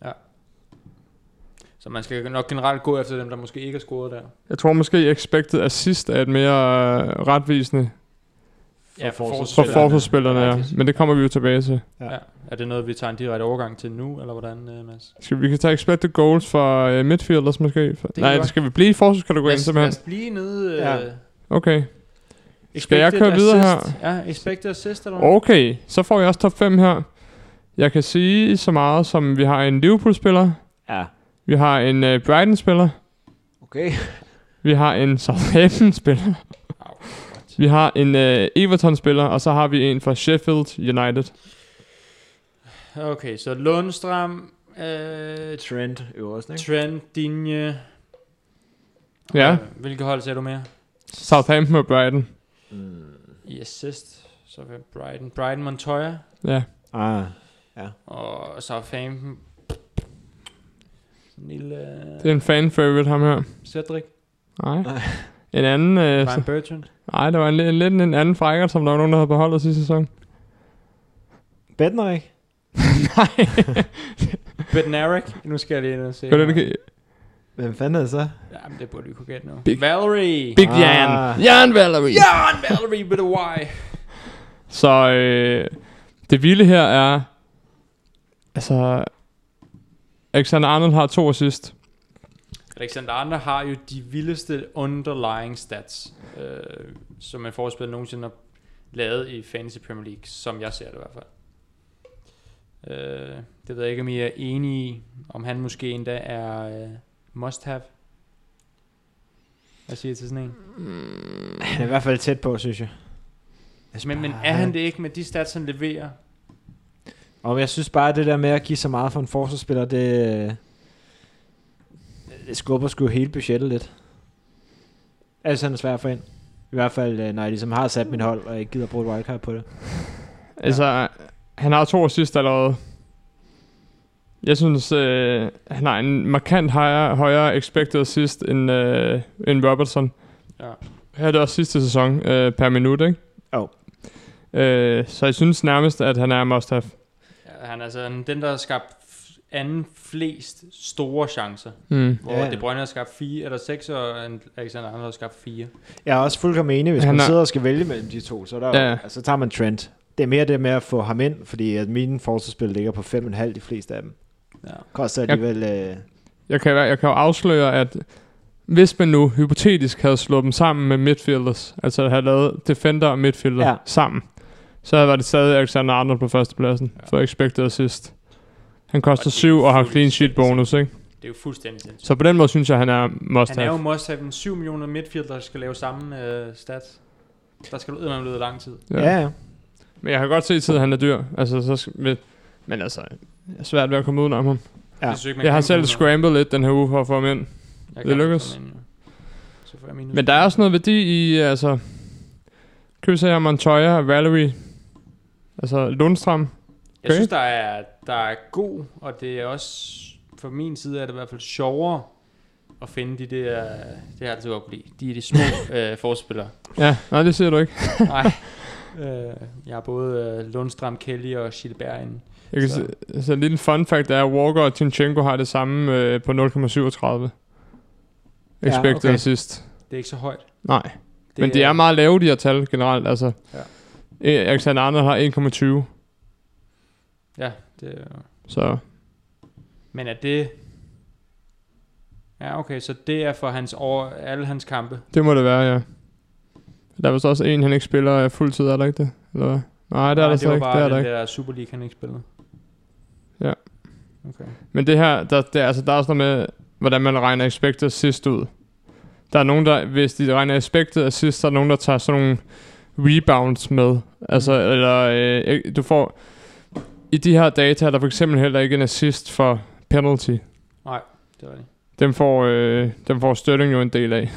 Speaker 1: Så man skal nok generelt gå efter dem, der måske ikke har scoret der.
Speaker 3: Jeg tror måske, expected assist er et mere øh, retvisende
Speaker 1: Ja, for
Speaker 3: for
Speaker 1: forsvarsspillerne.
Speaker 3: forholdsspillerne,
Speaker 1: Ja,
Speaker 3: ja.
Speaker 1: rigtigt.
Speaker 3: men det kommer vi jo tilbage til.
Speaker 1: Ja. Er det noget, vi tager en direkte overgang til nu, eller hvordan, øh, Mads?
Speaker 3: Skal vi vi kan tage expected goals fra øh, midfielders måske? For,
Speaker 1: vi
Speaker 3: nej,
Speaker 1: godt.
Speaker 3: det skal vi blive i forsvarskategorien
Speaker 1: Lad os, lad
Speaker 3: simpelthen.
Speaker 1: os blive nede. Øh,
Speaker 5: Ja.
Speaker 1: ja.
Speaker 3: Okay. Skal jeg køre videre
Speaker 1: assist. her? Ja, expected assist, eller hvad?
Speaker 3: Okay, så får jeg også top 5 her. Jeg kan sige så meget som, vi har en Liverpool-spiller,
Speaker 5: Ja.
Speaker 3: vi har en øh, Brighton-spiller,
Speaker 5: Okay.
Speaker 3: [laughs] vi har en Southampton-spiller,
Speaker 1: Au, what?
Speaker 3: vi har en øh, Everton-spiller, og så har vi en fra Sheffield United.
Speaker 1: Okay, så Lundstrøm, øh,
Speaker 5: Trent øverst, ikke?
Speaker 1: Trent, Digne.
Speaker 3: Ja,
Speaker 1: Øh, Hvilke hold ser du mere?
Speaker 3: Southampton og Brighton.
Speaker 5: Mm.
Speaker 1: I assist, så vil Brighton. Brighton Montoya
Speaker 3: Ja,
Speaker 5: Ah.
Speaker 1: og Southampton. Sådan en lille... øh,
Speaker 3: det er en fan-favorite, ham her.
Speaker 1: Cedric.
Speaker 3: Nej.
Speaker 5: Nej.
Speaker 3: En anden... Øh,
Speaker 1: Brian Bertrand.
Speaker 3: Nej, der var en, en, lidt en anden frækker, som der var nogen, der havde beholdt sidste sæson.
Speaker 5: Bedner, ikke?
Speaker 3: [laughs]
Speaker 5: [laughs]
Speaker 3: Nej.
Speaker 1: Bednarik. Nu skal jeg lige ind og se.
Speaker 3: Gør det, det kan...
Speaker 5: Hvem fanden er det så?
Speaker 1: Jamen, det burde vi kunne gætte nu.
Speaker 3: Big-
Speaker 1: Valerie.
Speaker 3: Big
Speaker 5: Ah.
Speaker 3: Jan. Jan Valerie. Ja!
Speaker 1: John Valerie with a Y.
Speaker 3: Så øh, det vilde her er... Altså... Alexander Arnold har to assist.
Speaker 1: Alexander Arne har jo de vildeste underlying stats, øh, som en forspiller nogensinde har lavet i Fantasy Premier League, som jeg ser det i hvert fald. Øh, det ved jeg ikke, om I er enige i, om han måske endda er øh, must-have. Hvad siger I til sådan en?
Speaker 5: Han er i hvert fald tæt på, synes jeg.
Speaker 1: Altså,
Speaker 5: Ah,
Speaker 1: Men, men er han det ikke med de stats, han leverer?
Speaker 5: Og jeg synes bare, at det der med at give så meget for en forsvarsspiller, det, det skubber sgu hele budgettet lidt. Altså, han er svær for ind. I hvert fald, øh, når jeg ligesom har sat min hold, og ikke gider bruge et wildcard på det.
Speaker 3: Altså, han har to assist allerede. Jeg synes, øh, han har en markant højere, højere expected assist end, øh, end Robertson.
Speaker 1: Ja.
Speaker 3: Her er det også sidste sæson øh, per minut, ikke?
Speaker 5: Jo.
Speaker 3: Øh, så jeg synes nærmest, at han er must have.
Speaker 1: Ja, han er altså den, der har skabt f- anden flest store chancer.
Speaker 3: Mm.
Speaker 1: Hvor
Speaker 5: Ja,
Speaker 1: ja.
Speaker 5: ja.
Speaker 1: De Bruyne har skabt fire, eller seks, og en- Alexander Arnold har skabt fire.
Speaker 5: Jeg er også fuldkommen enig, hvis
Speaker 3: Han
Speaker 5: han man
Speaker 3: er-
Speaker 5: sidder og skal vælge mellem de to, så, er der,
Speaker 3: Ja.
Speaker 5: ja. så tager man Trent. Det er mere det med at få ham ind, fordi at mine forsvarsspil ligger på 5,5 de fleste af dem.
Speaker 1: Ja.
Speaker 5: Koster
Speaker 3: Jeg-
Speaker 5: alligevel... Øh,
Speaker 3: Jeg kan, jeg kan jo afsløre, at hvis man nu hypotetisk havde slået dem sammen med midfielders, altså havde lavet defender og midfielder ja.
Speaker 5: Ja.
Speaker 3: sammen, så havde det stadig Alexander Arnold på førstepladsen
Speaker 1: Ja.
Speaker 3: ja. for expected assist. Han
Speaker 1: Og det er
Speaker 3: koster 7 og har
Speaker 1: fuldt
Speaker 3: clean sheet
Speaker 1: sindssygt.
Speaker 3: bonus, ikke?
Speaker 1: Det er jo fuldstændig sindssygt.
Speaker 3: Så på den måde synes jeg, han er must
Speaker 1: Han er jo
Speaker 3: have.
Speaker 1: must have en 7 millioner midfielder, der skal lave samme øh, stats. Der skal du eddermame lede lang tid.
Speaker 5: ja. ja,
Speaker 3: Men jeg kan godt se til, at han er dyr. Altså, så, skal- men, men altså, jeg er svært ved at komme udenom ham.
Speaker 5: Ja.
Speaker 1: Jeg, synes, ikke, man
Speaker 3: Jeg har
Speaker 1: kan
Speaker 3: selv
Speaker 1: komme ud med-
Speaker 3: scrambled lidt den her uge for at få ham ind.
Speaker 1: Jeg
Speaker 3: Det
Speaker 1: kan
Speaker 3: lykkedes.
Speaker 1: komme ind, ja. så får jeg minus.
Speaker 3: Men der er også noget værdi i, altså... Købsager, Montoya, Valerie, altså Lundstrøm.
Speaker 1: Jeg synes, der er, der er god, og det er også, fra min side er det i hvert fald sjovere at finde de der, det har jeg altid godt kunne lide, de er de
Speaker 3: [laughs]
Speaker 1: små øh, forspillere.
Speaker 3: Ja, nej, det siger du ikke.
Speaker 1: Nej, øh, jeg har både øh, Lundstrøm, Kelly og Schilberg inde.
Speaker 3: Jeg kan
Speaker 1: Så-
Speaker 3: så. Se, så en lille fun fact er, at Walker og Tinchenko har det samme øh, på 0,37. Expected ja,
Speaker 5: okay.
Speaker 3: okay. sidst.
Speaker 1: Det er ikke så højt.
Speaker 3: Nej, det men de er meget lave, de her tal generelt. Altså,
Speaker 1: Ja.
Speaker 3: ja. Alexander Arnold har 1,20,
Speaker 1: Ja, det er,
Speaker 3: så
Speaker 1: men er det... Ja, okay, så det er for hans over, alle hans kampe.
Speaker 3: det må det være, ja. Der er vist også en, han ikke spiller øh, fuldtid, er der ikke det? Eller hvad? Nej, det er
Speaker 1: Nej,
Speaker 3: der slet
Speaker 1: var
Speaker 3: ikke.
Speaker 1: bare
Speaker 3: Det er der
Speaker 1: den
Speaker 3: ikke.
Speaker 1: der Super League, han ikke spillede.
Speaker 3: Ja.
Speaker 1: Okay.
Speaker 3: Men det her, der, der, altså, der er sådan noget med, hvordan man regner expected assist ud. Der er nogen, der, hvis de regner expected assist, så er der nogen, der tager sådan nogle rebounds med. Altså, eller øh, øh, du får... I de her data er der for eksempel heller ikke en assist for penalty.
Speaker 1: Det var det.
Speaker 3: Dem får, øh, dem får Sterling jo en del af.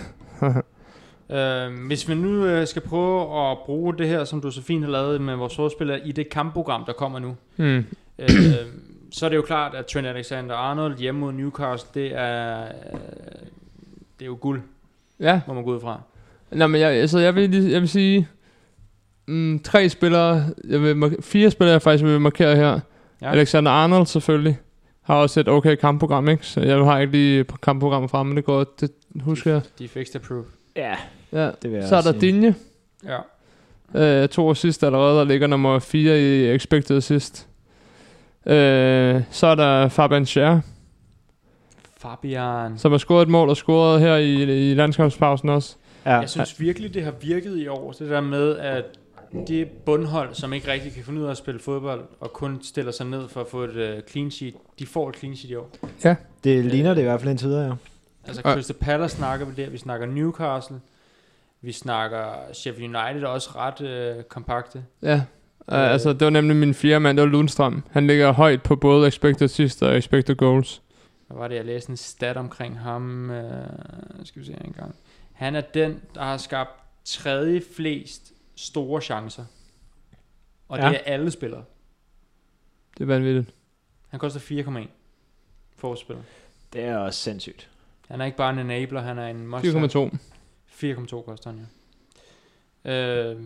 Speaker 1: Øh, hvis vi nu øh, skal prøve at bruge det her, som du så fint har lavet med vores forspiller, i det kampprogram, der kommer nu,
Speaker 3: Mm.
Speaker 1: øh, [clears throat] så er det jo klart, at Trent Alexander-Arnold hjemme mod Newcastle, det er, øh, det er jo guld,
Speaker 3: Ja,
Speaker 1: må man gå ud fra.
Speaker 3: Nå, men jeg, altså, jeg, vil, lige- jeg vil sige, mm, tre spillere, jeg vil, mark- fire spillere jeg faktisk vil markere her.
Speaker 1: Ja.
Speaker 3: Ja. Alexander Arnold selvfølgelig, har også et okay kampprogram, ikke? Så jeg har ikke lige kampprogrammet frem, men det går, det husker jeg.
Speaker 1: De er fixed approved.
Speaker 5: Ja,
Speaker 3: Ja.
Speaker 5: det vil jeg
Speaker 3: Så er
Speaker 5: også
Speaker 3: der
Speaker 5: sige.
Speaker 3: Dinje,
Speaker 1: Ja.
Speaker 3: øh, to assist allerede, og ligger nummer 4 i expected assist. Øh, så er der Fabian Scher,
Speaker 1: Fabian.
Speaker 3: som har scoret et mål og scoret her i, i landskampspausen også.
Speaker 5: Ja.
Speaker 1: Jeg synes virkelig, det har virket i år, det der med, at det bundhold, som ikke rigtig kan finde ud af at spille fodbold, og kun stiller sig ned for at få et øh, clean sheet, de får et clean sheet i år.
Speaker 5: Det ligner det i hvert fald indtil videre, ja.
Speaker 1: Altså
Speaker 3: Og-
Speaker 1: Crystal Palace snakker vi der, vi snakker Newcastle, vi snakker Sheffield United er også ret øh, kompakte.
Speaker 3: Ja,
Speaker 1: Øh.
Speaker 3: øh. altså det var nemlig min fjerde mand, det var Lundstrøm. Han ligger højt på både expected assist og expected goals.
Speaker 1: Hvad var det, jeg læste en stat omkring ham? Øh, skal vi se en gang. Han er den, der har skabt tredje flest store chancer. Og ja.
Speaker 3: Ja.
Speaker 1: det er alle spillere.
Speaker 3: Det er vanvittigt.
Speaker 1: Han koster 4,1 forspiller.
Speaker 5: Det er også sindssygt.
Speaker 1: Han er ikke bare en enabler, han er en must
Speaker 3: 4,2.
Speaker 1: 4,2 koster han, ja. Øh,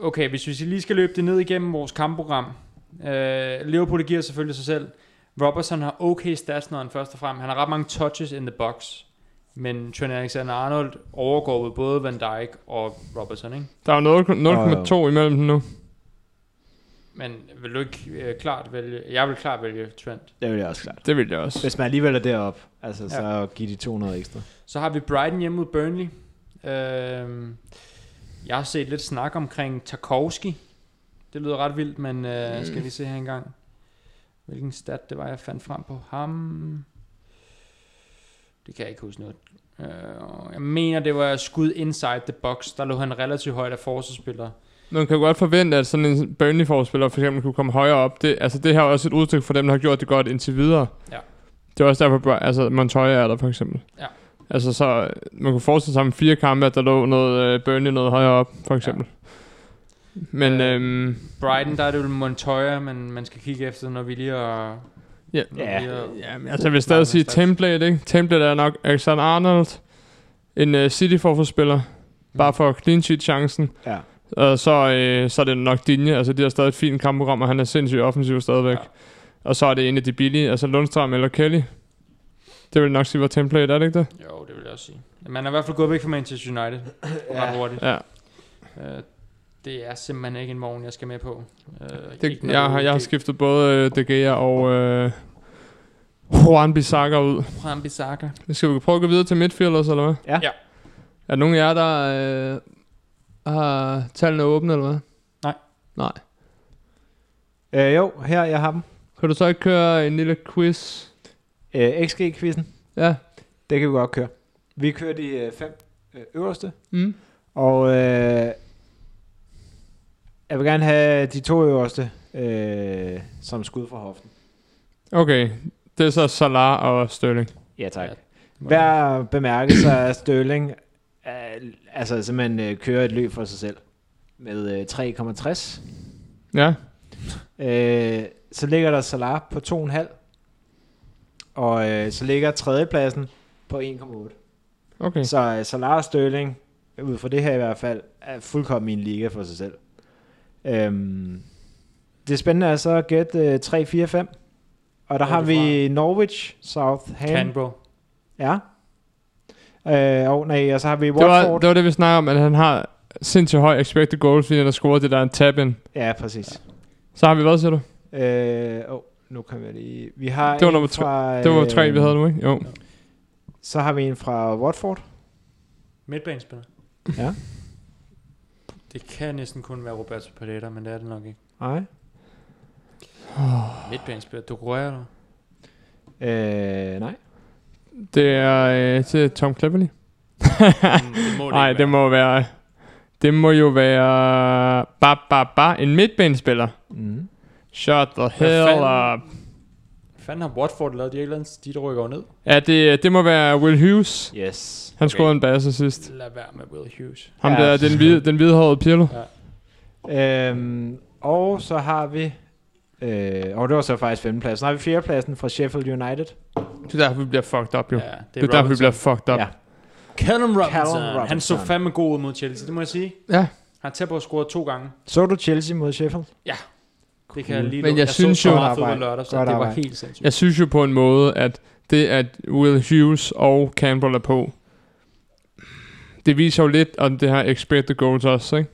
Speaker 1: okay, hvis vi lige skal løbe det ned igennem vores kampprogram. Øh, Liverpool det giver selvfølgelig sig selv. Robertson har okay stats, når han først og frem. Han har ret mange touches in the box. Men Trent Alexander-Arnold overgår ved både Van Dijk og Robertson, ikke?
Speaker 3: Der er jo 0,2
Speaker 5: Og-
Speaker 3: imellem dem nu.
Speaker 1: Men vil du ikke øh, klart vælge... Jeg vil klart vælge Trent.
Speaker 5: Det vil jeg også klart.
Speaker 3: Det vil jeg også.
Speaker 5: Hvis man alligevel er deroppe, altså, ja. så giv de 200 ekstra.
Speaker 1: Så har vi Brighton hjemme mod Burnley. Øh, jeg har set lidt snak omkring Tarkovski. Det lyder ret vildt, men øh, skal lige se her engang. Hvilken stat det var, jeg fandt frem på ham. Det kan jeg ikke huske noget. Øh, jeg mener, det var skud inside the box. Der lå han relativt højt af forsvarsspillere.
Speaker 3: Man kan jo godt forvente, at sådan en Burnley-forspiller for eksempel kunne komme højere op. Det, altså det her er også et udtryk for dem, der har gjort det godt indtil videre.
Speaker 1: Ja.
Speaker 3: Det er også derfor, Bra- altså Montoya er der for eksempel.
Speaker 1: Ja.
Speaker 3: Altså så, øh, man kunne forestille sig om fire kampe, at der lå noget øh, Burnley noget højere op, for eksempel. Ja. Men
Speaker 1: Øh.
Speaker 3: øhm,
Speaker 1: Brighton, der er det jo Montoya, men man skal kigge efter, når vi lige er...
Speaker 3: Ja.
Speaker 1: når vi
Speaker 5: Ja.
Speaker 1: lige er-
Speaker 3: Ja, men altså, jeg vil stadig sige
Speaker 1: Martin Stads.
Speaker 3: template, ikke? Template er nok Alexander Arnold, en uh, city forspiller bare for clean sheet chancen.
Speaker 5: Ja.
Speaker 3: Og så, øh, så er det nok Dinje, altså de har stadig et fint kampprogram, og han er sindssygt offensiv stadigvæk.
Speaker 1: Ja.
Speaker 3: Ja. Og så er det en af de billige, altså Lundstrøm eller Kelly. Det vil nok sige, hvor template er det ikke det?
Speaker 1: Jo, det vil jeg også sige. Man er i hvert fald gået væk fra Manchester United ja. ret hurtigt.
Speaker 3: Ja,
Speaker 1: Øh, det er simpelthen ikke en vogn, jeg skal med på. Øh,
Speaker 3: det,
Speaker 1: ikke noget
Speaker 3: jeg, har, jeg har
Speaker 1: UG.
Speaker 3: skiftet både øh, De Gea og øh, Juan Bissaka ud.
Speaker 1: Juan Bissaka.
Speaker 3: Skal vi prøve at gå videre til midtfielders, eller hvad?
Speaker 5: Ja.
Speaker 1: Ja.
Speaker 3: Er der nogen af jer, der øh, har tallene åbne, eller hvad?
Speaker 5: Øh, jo, her jeg har dem.
Speaker 3: Kan du så ikke køre en lille quiz?
Speaker 5: Øh, XG-quizzen,
Speaker 3: Ja.
Speaker 5: det kan vi godt køre. Vi kører de øh, fem øh, øverste,
Speaker 3: Mm.
Speaker 5: og øh, jeg vil gerne have de to øverste øh, som skud fra hoften.
Speaker 3: Okay, det er så Salah og Sterling.
Speaker 5: Ja, tak.
Speaker 1: Ja.
Speaker 5: Hver bemærkelse af Sterling, øh, altså simpelthen øh, kører et løb for sig selv med øh, 3,60.
Speaker 3: Ja,
Speaker 5: Øh, så ligger der Salah på 2,5. Og øh, så ligger tredjepladsen på 1,8.
Speaker 3: okay.
Speaker 5: Så øh, Salah og Sterling, ud fra det her i hvert fald, er fuldkommen i en liga for sig selv. Øhm, det spændende er så at gætte øh, 3, 4, 5. Og der
Speaker 1: Hvor er
Speaker 5: har
Speaker 1: du
Speaker 5: vi Norwich, Southampton.
Speaker 1: Canberra.
Speaker 5: Ja. Øh, og, nej, og så har vi
Speaker 3: Det var,
Speaker 5: Watford.
Speaker 3: det var det, vi snakkede om, at han har sindssygt høj expected goals, fordi han har scoret det der en tab ind.
Speaker 5: Ja, præcis.
Speaker 3: Så har vi hvad, siger du?
Speaker 5: Øh, oh, nu kan jeg lige... Vi har
Speaker 3: Det var
Speaker 5: en
Speaker 3: nummer tre.
Speaker 5: fra,
Speaker 3: Det var
Speaker 5: øh,
Speaker 3: tre, vi havde nu, ikke? Jo.
Speaker 5: Så har vi en fra Watford.
Speaker 1: Midtbanespiller.
Speaker 5: Ja.
Speaker 1: Det kan næsten kun være Roberto Paletta, men det er det nok ikke.
Speaker 5: Nej.
Speaker 1: Midtbanespiller. Du rører
Speaker 5: Øh, nej.
Speaker 3: Det er øh, til Tom Cleverley.
Speaker 1: Mm, det må det
Speaker 3: [laughs] Nej,
Speaker 1: ikke
Speaker 3: det må være... Det må jo være... Ba, ba, ba, en midtbanespiller.
Speaker 5: Mm.
Speaker 3: Shut the hell
Speaker 1: fanden?
Speaker 3: up.
Speaker 1: Fanden har Watford lavet de Irlands, de der rykker jo ned.
Speaker 3: Ja, det, det må være Will Hughes.
Speaker 5: Yes.
Speaker 3: Han
Speaker 1: Okay.
Speaker 3: scorede en basse sidst.
Speaker 1: Lad være med Will Hughes.
Speaker 3: Ham
Speaker 5: Ja,
Speaker 3: der,
Speaker 5: så-
Speaker 3: den, hvide, den hvidehårede Pirlo.
Speaker 5: Øhm, og så har vi... Øh, og det var så faktisk femtepladsen. Så har vi fjerdepladsen fra Sheffield United.
Speaker 3: Det er derfor, vi bliver fucked up, jo.
Speaker 1: Ja, det
Speaker 3: Det er derfor, vi bliver
Speaker 1: Robinson.
Speaker 3: fucked up.
Speaker 5: Ja.
Speaker 1: Callum Robinson.
Speaker 5: Callum
Speaker 1: Callum Robinson. Han så
Speaker 5: Robinson.
Speaker 1: fandme god ud mod Chelsea, det må jeg sige.
Speaker 3: Ja.
Speaker 1: Han er tæt på at score to gange.
Speaker 5: Så du Chelsea mod Sheffield?
Speaker 1: Det kan jeg lige
Speaker 3: Men
Speaker 1: love.
Speaker 3: jeg synes
Speaker 1: så
Speaker 3: jo-
Speaker 1: så
Speaker 5: Godt
Speaker 1: meget fodbold
Speaker 5: arbejde.
Speaker 1: lørdag, så
Speaker 5: Godt
Speaker 1: det var
Speaker 5: arbejde.
Speaker 1: helt sindssygt.
Speaker 3: Jeg synes jo på en måde, at det, at Will Hughes og Campbell er på, det viser jo lidt om det her expected goals også, ikke?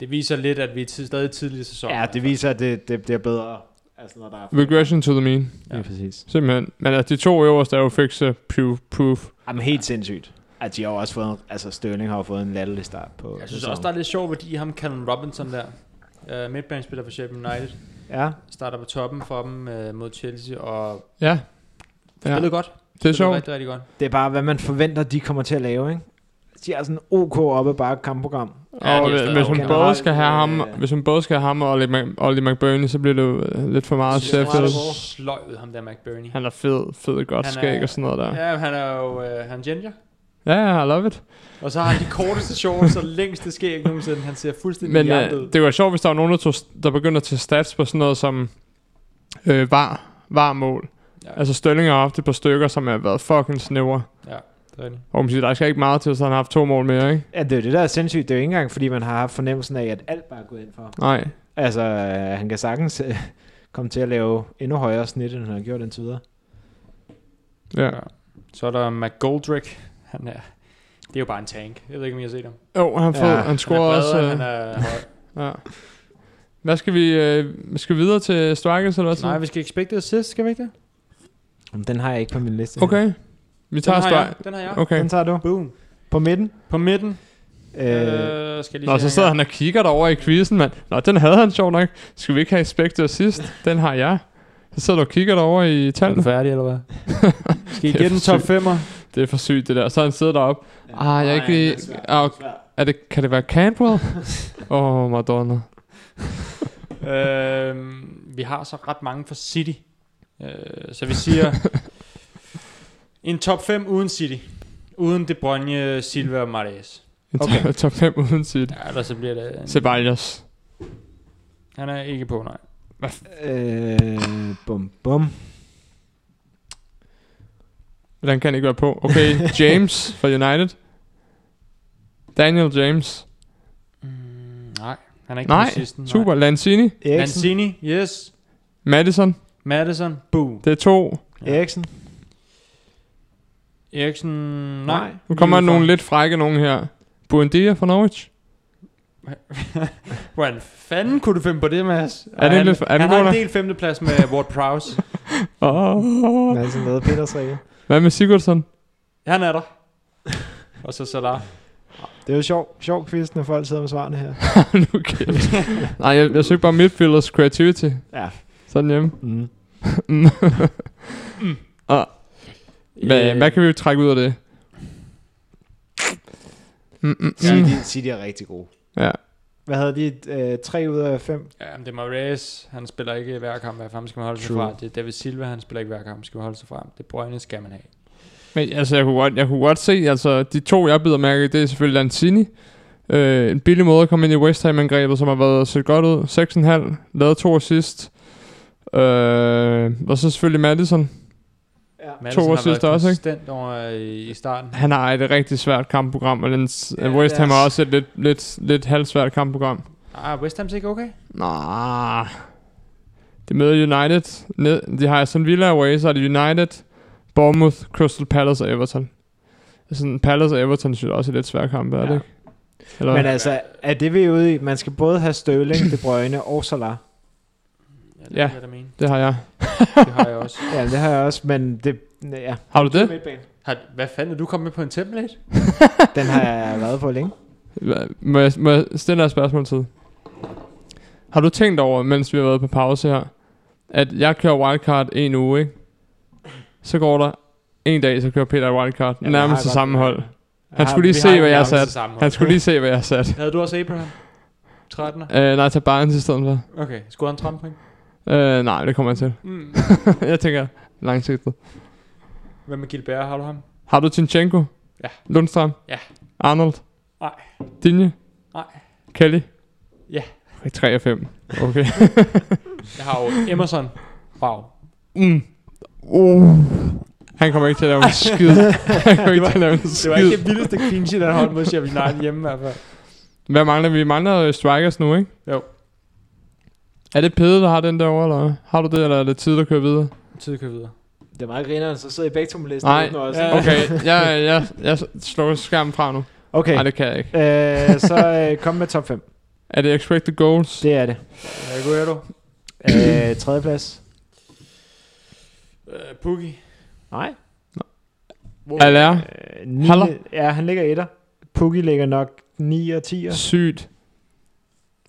Speaker 1: Det viser lidt, at vi er tid, stadig tidlig i sæsonen.
Speaker 5: Ja, det viser, at det, det bliver bedre. Altså, når der er
Speaker 3: Regression to the mean,
Speaker 1: Ja.
Speaker 5: Ja, præcis.
Speaker 3: simpelthen. Men altså, de to øverste er jo fixe proof. proof.
Speaker 5: Jamen, helt sindssygt. At de har jo også fået... en- Altså, Sterling har jo fået en latterlig start på...
Speaker 1: Jeg synes også, der er lidt sjov værdi i ham, Callum Robinson der. Uh, midtbanespiller for Sheffield United.
Speaker 5: Ja,
Speaker 1: Starter på toppen for dem uh, mod Chelsea, og
Speaker 3: Ja. ja.
Speaker 1: spillede godt.
Speaker 3: Det er
Speaker 1: Spillede
Speaker 3: sjovt.
Speaker 1: Rigtig, rigtig godt.
Speaker 5: det er bare, hvad man forventer, de kommer til at lave, ikke? De har sådan en OK oppe bare kampprogram.
Speaker 1: Ja,
Speaker 3: Og
Speaker 1: det er stadig
Speaker 3: hvis man,
Speaker 5: okay.
Speaker 3: både skal have ham,
Speaker 5: Generelt, øh,
Speaker 3: hvis man både skal have ham og Ollie, Mc, Ollie McBurney, så bliver det jo øh, lidt for meget
Speaker 1: Jeg synes, han er
Speaker 3: Sheffield.
Speaker 1: meget sløj ud, ham der McBurney.
Speaker 3: Han er fed, fed godt
Speaker 1: Han er-
Speaker 3: skæg og sådan noget der.
Speaker 1: Ja, han er jo uh, han er ginger.
Speaker 3: Ja, ja, I love it.
Speaker 1: Og så har han de
Speaker 3: [laughs]
Speaker 1: korteste shorts og længste skæg nogensinde. Han ser fuldstændig
Speaker 3: Men
Speaker 1: hjertet ud.
Speaker 3: øh, det var sjovt, hvis der var nogen, der, tog, der begyndte at tage stats på sådan noget som øh, var, var mål.
Speaker 1: Ja.
Speaker 3: Ja. Altså Stølling har haft et par stykker, som har været fucking snævre.
Speaker 1: Det er rigtigt.
Speaker 3: Og man siger, der skal ikke meget til, så han har haft to mål mere, ikke?
Speaker 5: Ja, det er jo det, der er sindssygt. Det er jo ikke engang, fordi man har haft fornemmelsen af, at alt bare er gået ind for ham.
Speaker 3: Nej.
Speaker 5: Altså, øh, han kan sagtens øh, komme til at lave endnu højere snit, end han har gjort indtil videre.
Speaker 3: Ja.
Speaker 1: Ja. Så er der McGoldrick. Han er, det er jo bare en tank. Jeg ved ikke, om I har set ham.
Speaker 3: Jo, oh, han,
Speaker 5: Ja.
Speaker 3: ja,
Speaker 5: Han er
Speaker 3: han
Speaker 1: Han er
Speaker 3: scorer også.
Speaker 1: bredere,
Speaker 3: Øh,
Speaker 1: han er høj.
Speaker 3: ja. Hvad skal vi... Øh, skal vi videre til strikers, eller [laughs] hvad?
Speaker 1: Nej,
Speaker 3: så?
Speaker 1: vi skal expected assist, skal vi ikke det?
Speaker 5: Jamen, Den har jeg ikke på min liste.
Speaker 3: Okay. Vi
Speaker 1: Den
Speaker 3: tager
Speaker 1: har jeg.
Speaker 3: strikers.
Speaker 1: Den har jeg.
Speaker 3: Okay.
Speaker 5: Den tager du.
Speaker 1: Boom.
Speaker 5: På midten.
Speaker 1: På midten. Øh,
Speaker 5: Øh,
Speaker 1: skal jeg lige
Speaker 3: Nå,
Speaker 1: se
Speaker 3: så
Speaker 1: her engang.
Speaker 3: sidder han og kigger derovre i quizzen, mand. Nå, den havde han sjov nok. Skal vi ikke have Spectre sidst? Den har jeg. Så sidder du og kigger derovre i
Speaker 1: Er du
Speaker 3: tallene.
Speaker 1: færdig, eller hvad?
Speaker 3: [laughs]
Speaker 1: skal I
Speaker 3: Det er
Speaker 1: gætte en
Speaker 3: for
Speaker 1: top
Speaker 3: sygt.
Speaker 1: 5'er?
Speaker 3: Det er for sygt, det der. Så han sidder deroppe. Ah, jeg er ikke lige... Ah, okay. er det, kan det være Cantwell?
Speaker 1: [laughs]
Speaker 3: Åh, oh, Madonna.
Speaker 1: øhm, vi har så ret mange for City. Øh, så vi
Speaker 3: [laughs]
Speaker 1: siger... en top 5 uden City. Uden De Bruyne, Silva og Mares.
Speaker 3: En
Speaker 1: Okay.
Speaker 3: okay. top 5 uden sit.
Speaker 1: Ja, ellers så bliver det... En...
Speaker 3: Ceballos.
Speaker 1: Han er ikke på, nej.
Speaker 5: Øh, bum, bum.
Speaker 3: Den kan ikke være på. Okay, James fra United. Daniel James.
Speaker 1: Mm, nej, han er ikke
Speaker 3: Nej,
Speaker 1: på sidsten.
Speaker 3: Super. Lanzini.
Speaker 5: Eriksen.
Speaker 1: Lanzini, yes.
Speaker 3: Madison.
Speaker 1: Madison, boom.
Speaker 3: Det er to.
Speaker 1: Ja.
Speaker 5: Eriksen.
Speaker 1: Eriksen, nej.
Speaker 3: Nu kommer
Speaker 1: Lige
Speaker 3: der nogle
Speaker 1: udenfor.
Speaker 3: lidt frække nogen her. Buendia fra Norwich.
Speaker 1: Hvordan fanden kunne du finde på det, Mads?
Speaker 3: Er det
Speaker 1: han,
Speaker 3: lidt- er det
Speaker 1: han har en
Speaker 3: Gunnar?
Speaker 1: del femteplads
Speaker 3: [laughs]
Speaker 1: med Ward Prowse.
Speaker 3: Oh.
Speaker 5: Hvad er det, som lavede Peters regel?
Speaker 3: Hvad med Sigurdsson?
Speaker 1: han er der. Og så Salah.
Speaker 5: Det er jo sjov, sjov quiz, når folk sidder med svarene her.
Speaker 3: [laughs] nu kæft. Nej, jeg, jeg søgte bare midfielders creativity.
Speaker 5: Ja.
Speaker 3: Sådan hjemme.
Speaker 5: Mm.
Speaker 3: Mm. [laughs] Og, hvad, hvad kan vi trække ud af det? Mm,
Speaker 5: Øh,
Speaker 3: mm, mm.
Speaker 5: City, City er rigtig gode.
Speaker 3: Ja.
Speaker 5: Hvad havde de? Øh, tre ud af fem?
Speaker 1: Ja, men det er Marais. Han spiller ikke hver kamp. Hvad fanden skal man holde sig
Speaker 5: True.
Speaker 1: fra? Det er David Silva. Han spiller ikke hver kamp. Skal man holde sig fra? Det Brøgne skal man have.
Speaker 3: Men altså, jeg kunne godt, jeg kunne godt se, altså, de to, jeg bider mærke i, det er selvfølgelig Lanzini. Øh, en billig måde at komme ind i West Ham-angrebet, som har været set godt ud. 6,5, lavet to assist. Øh, og så selvfølgelig Madison.
Speaker 1: Madison har
Speaker 3: assist
Speaker 1: været
Speaker 3: også, ikke?
Speaker 1: konsistent Over øh, i, i starten.
Speaker 3: Han har et rigtig svært kampprogram, og den,
Speaker 5: Ja,
Speaker 3: ja, West Ham
Speaker 5: deres-
Speaker 3: har også et lidt, lidt, lidt halvsvært kampprogram.
Speaker 1: Ah, West Ham's ikke okay?
Speaker 3: Nå, det møder United. Ned, de har Aston Villa away, så er det United, Bournemouth, Crystal Palace og Everton. Sådan Palace og Everton synes jeg også er lidt svære kampe, er det
Speaker 1: Ja.
Speaker 3: ikke? Eller,
Speaker 5: Men altså, er det vi er ude i? Man skal både have Sterling, De Bruyne og Salah.
Speaker 1: Ja.
Speaker 3: Ja.
Speaker 1: Det, er, hvad
Speaker 3: det har jeg.
Speaker 1: det har jeg
Speaker 3: [laughs]
Speaker 1: også.
Speaker 5: Ja, det har jeg også, men det... Ja.
Speaker 3: Har du det?
Speaker 5: Midtbane.
Speaker 1: Har, hvad fanden er du kommet med på en template?
Speaker 5: Den har jeg været på længe.
Speaker 3: Hva- Må jeg, må jeg stille dig et spørgsmål til? Har du tænkt over, mens vi har været på pause her, at jeg kører wildcard en uge, ikke? Så går der en dag, så kører Peter wildcard.
Speaker 5: Ja,
Speaker 3: Ja,
Speaker 5: men jeg har
Speaker 3: nærmest til
Speaker 5: godt-
Speaker 3: samme hold.
Speaker 5: Jeg
Speaker 3: Han skulle lige
Speaker 5: vi
Speaker 3: se,
Speaker 5: har-
Speaker 3: hvad jeg
Speaker 1: Nærmest
Speaker 3: satte.
Speaker 1: samme hold.
Speaker 3: Han skulle lige se, hvad
Speaker 5: [laughs]
Speaker 3: jeg satte.
Speaker 1: Havde du også Abraham? 13'er?
Speaker 3: Øh, nej, tag Barnes i stedet for.
Speaker 1: Okay, skulle han trampe hende?
Speaker 3: Øh, nej, det kommer jeg til. [laughs]
Speaker 1: Mm.
Speaker 3: jeg tænker langsigtet.
Speaker 1: Hvad med Gilbert? Har du ham?
Speaker 3: Har du Tinchenko?
Speaker 1: Ja.
Speaker 3: Lundstrøm?
Speaker 1: Ja.
Speaker 3: Arnold?
Speaker 1: Nej.
Speaker 3: Dinje?
Speaker 1: Nej.
Speaker 3: Kelly?
Speaker 1: Ja.
Speaker 3: Okay, 3 og 5.
Speaker 1: [laughs]
Speaker 3: Okay.
Speaker 1: Jeg har jo Emerson. Wow.
Speaker 3: mm. Uh. Han kommer ikke til at lave en
Speaker 1: [laughs]
Speaker 3: skid. Han kommer ikke til at lave en
Speaker 1: Det var ikke
Speaker 3: skid.
Speaker 1: det vildeste clean sheet, han holdt mod Sheffield United hjemme i hvert fald.
Speaker 3: Hvad mangler vi? Vi mangler øh, strikers nu, ikke?
Speaker 1: Jo.
Speaker 3: Er det Pede, der har den derovre, eller hvad? Har du det, eller er det tid, der kører videre?
Speaker 1: Tid kører videre.
Speaker 5: Det er meget grineren, så sidder I begge to med listen.
Speaker 3: Nej.
Speaker 5: åbner også.
Speaker 1: Ja.
Speaker 3: Okay, jeg, jeg, jeg slår skærmen fra nu.
Speaker 5: Okay,
Speaker 3: Nej, det kan jeg ikke.
Speaker 5: øh, så øh, kom med top 5.
Speaker 3: Er det expected goals?
Speaker 5: Det er det.
Speaker 1: Aguero.
Speaker 5: Øh, tredje plads.
Speaker 1: Uh, Pukki.
Speaker 5: Nej.
Speaker 3: Aller?
Speaker 5: Øh, 9,
Speaker 3: Haller?
Speaker 5: ja, han ligger etter. Pukki ligger nok 9 og 10.
Speaker 3: Sygt.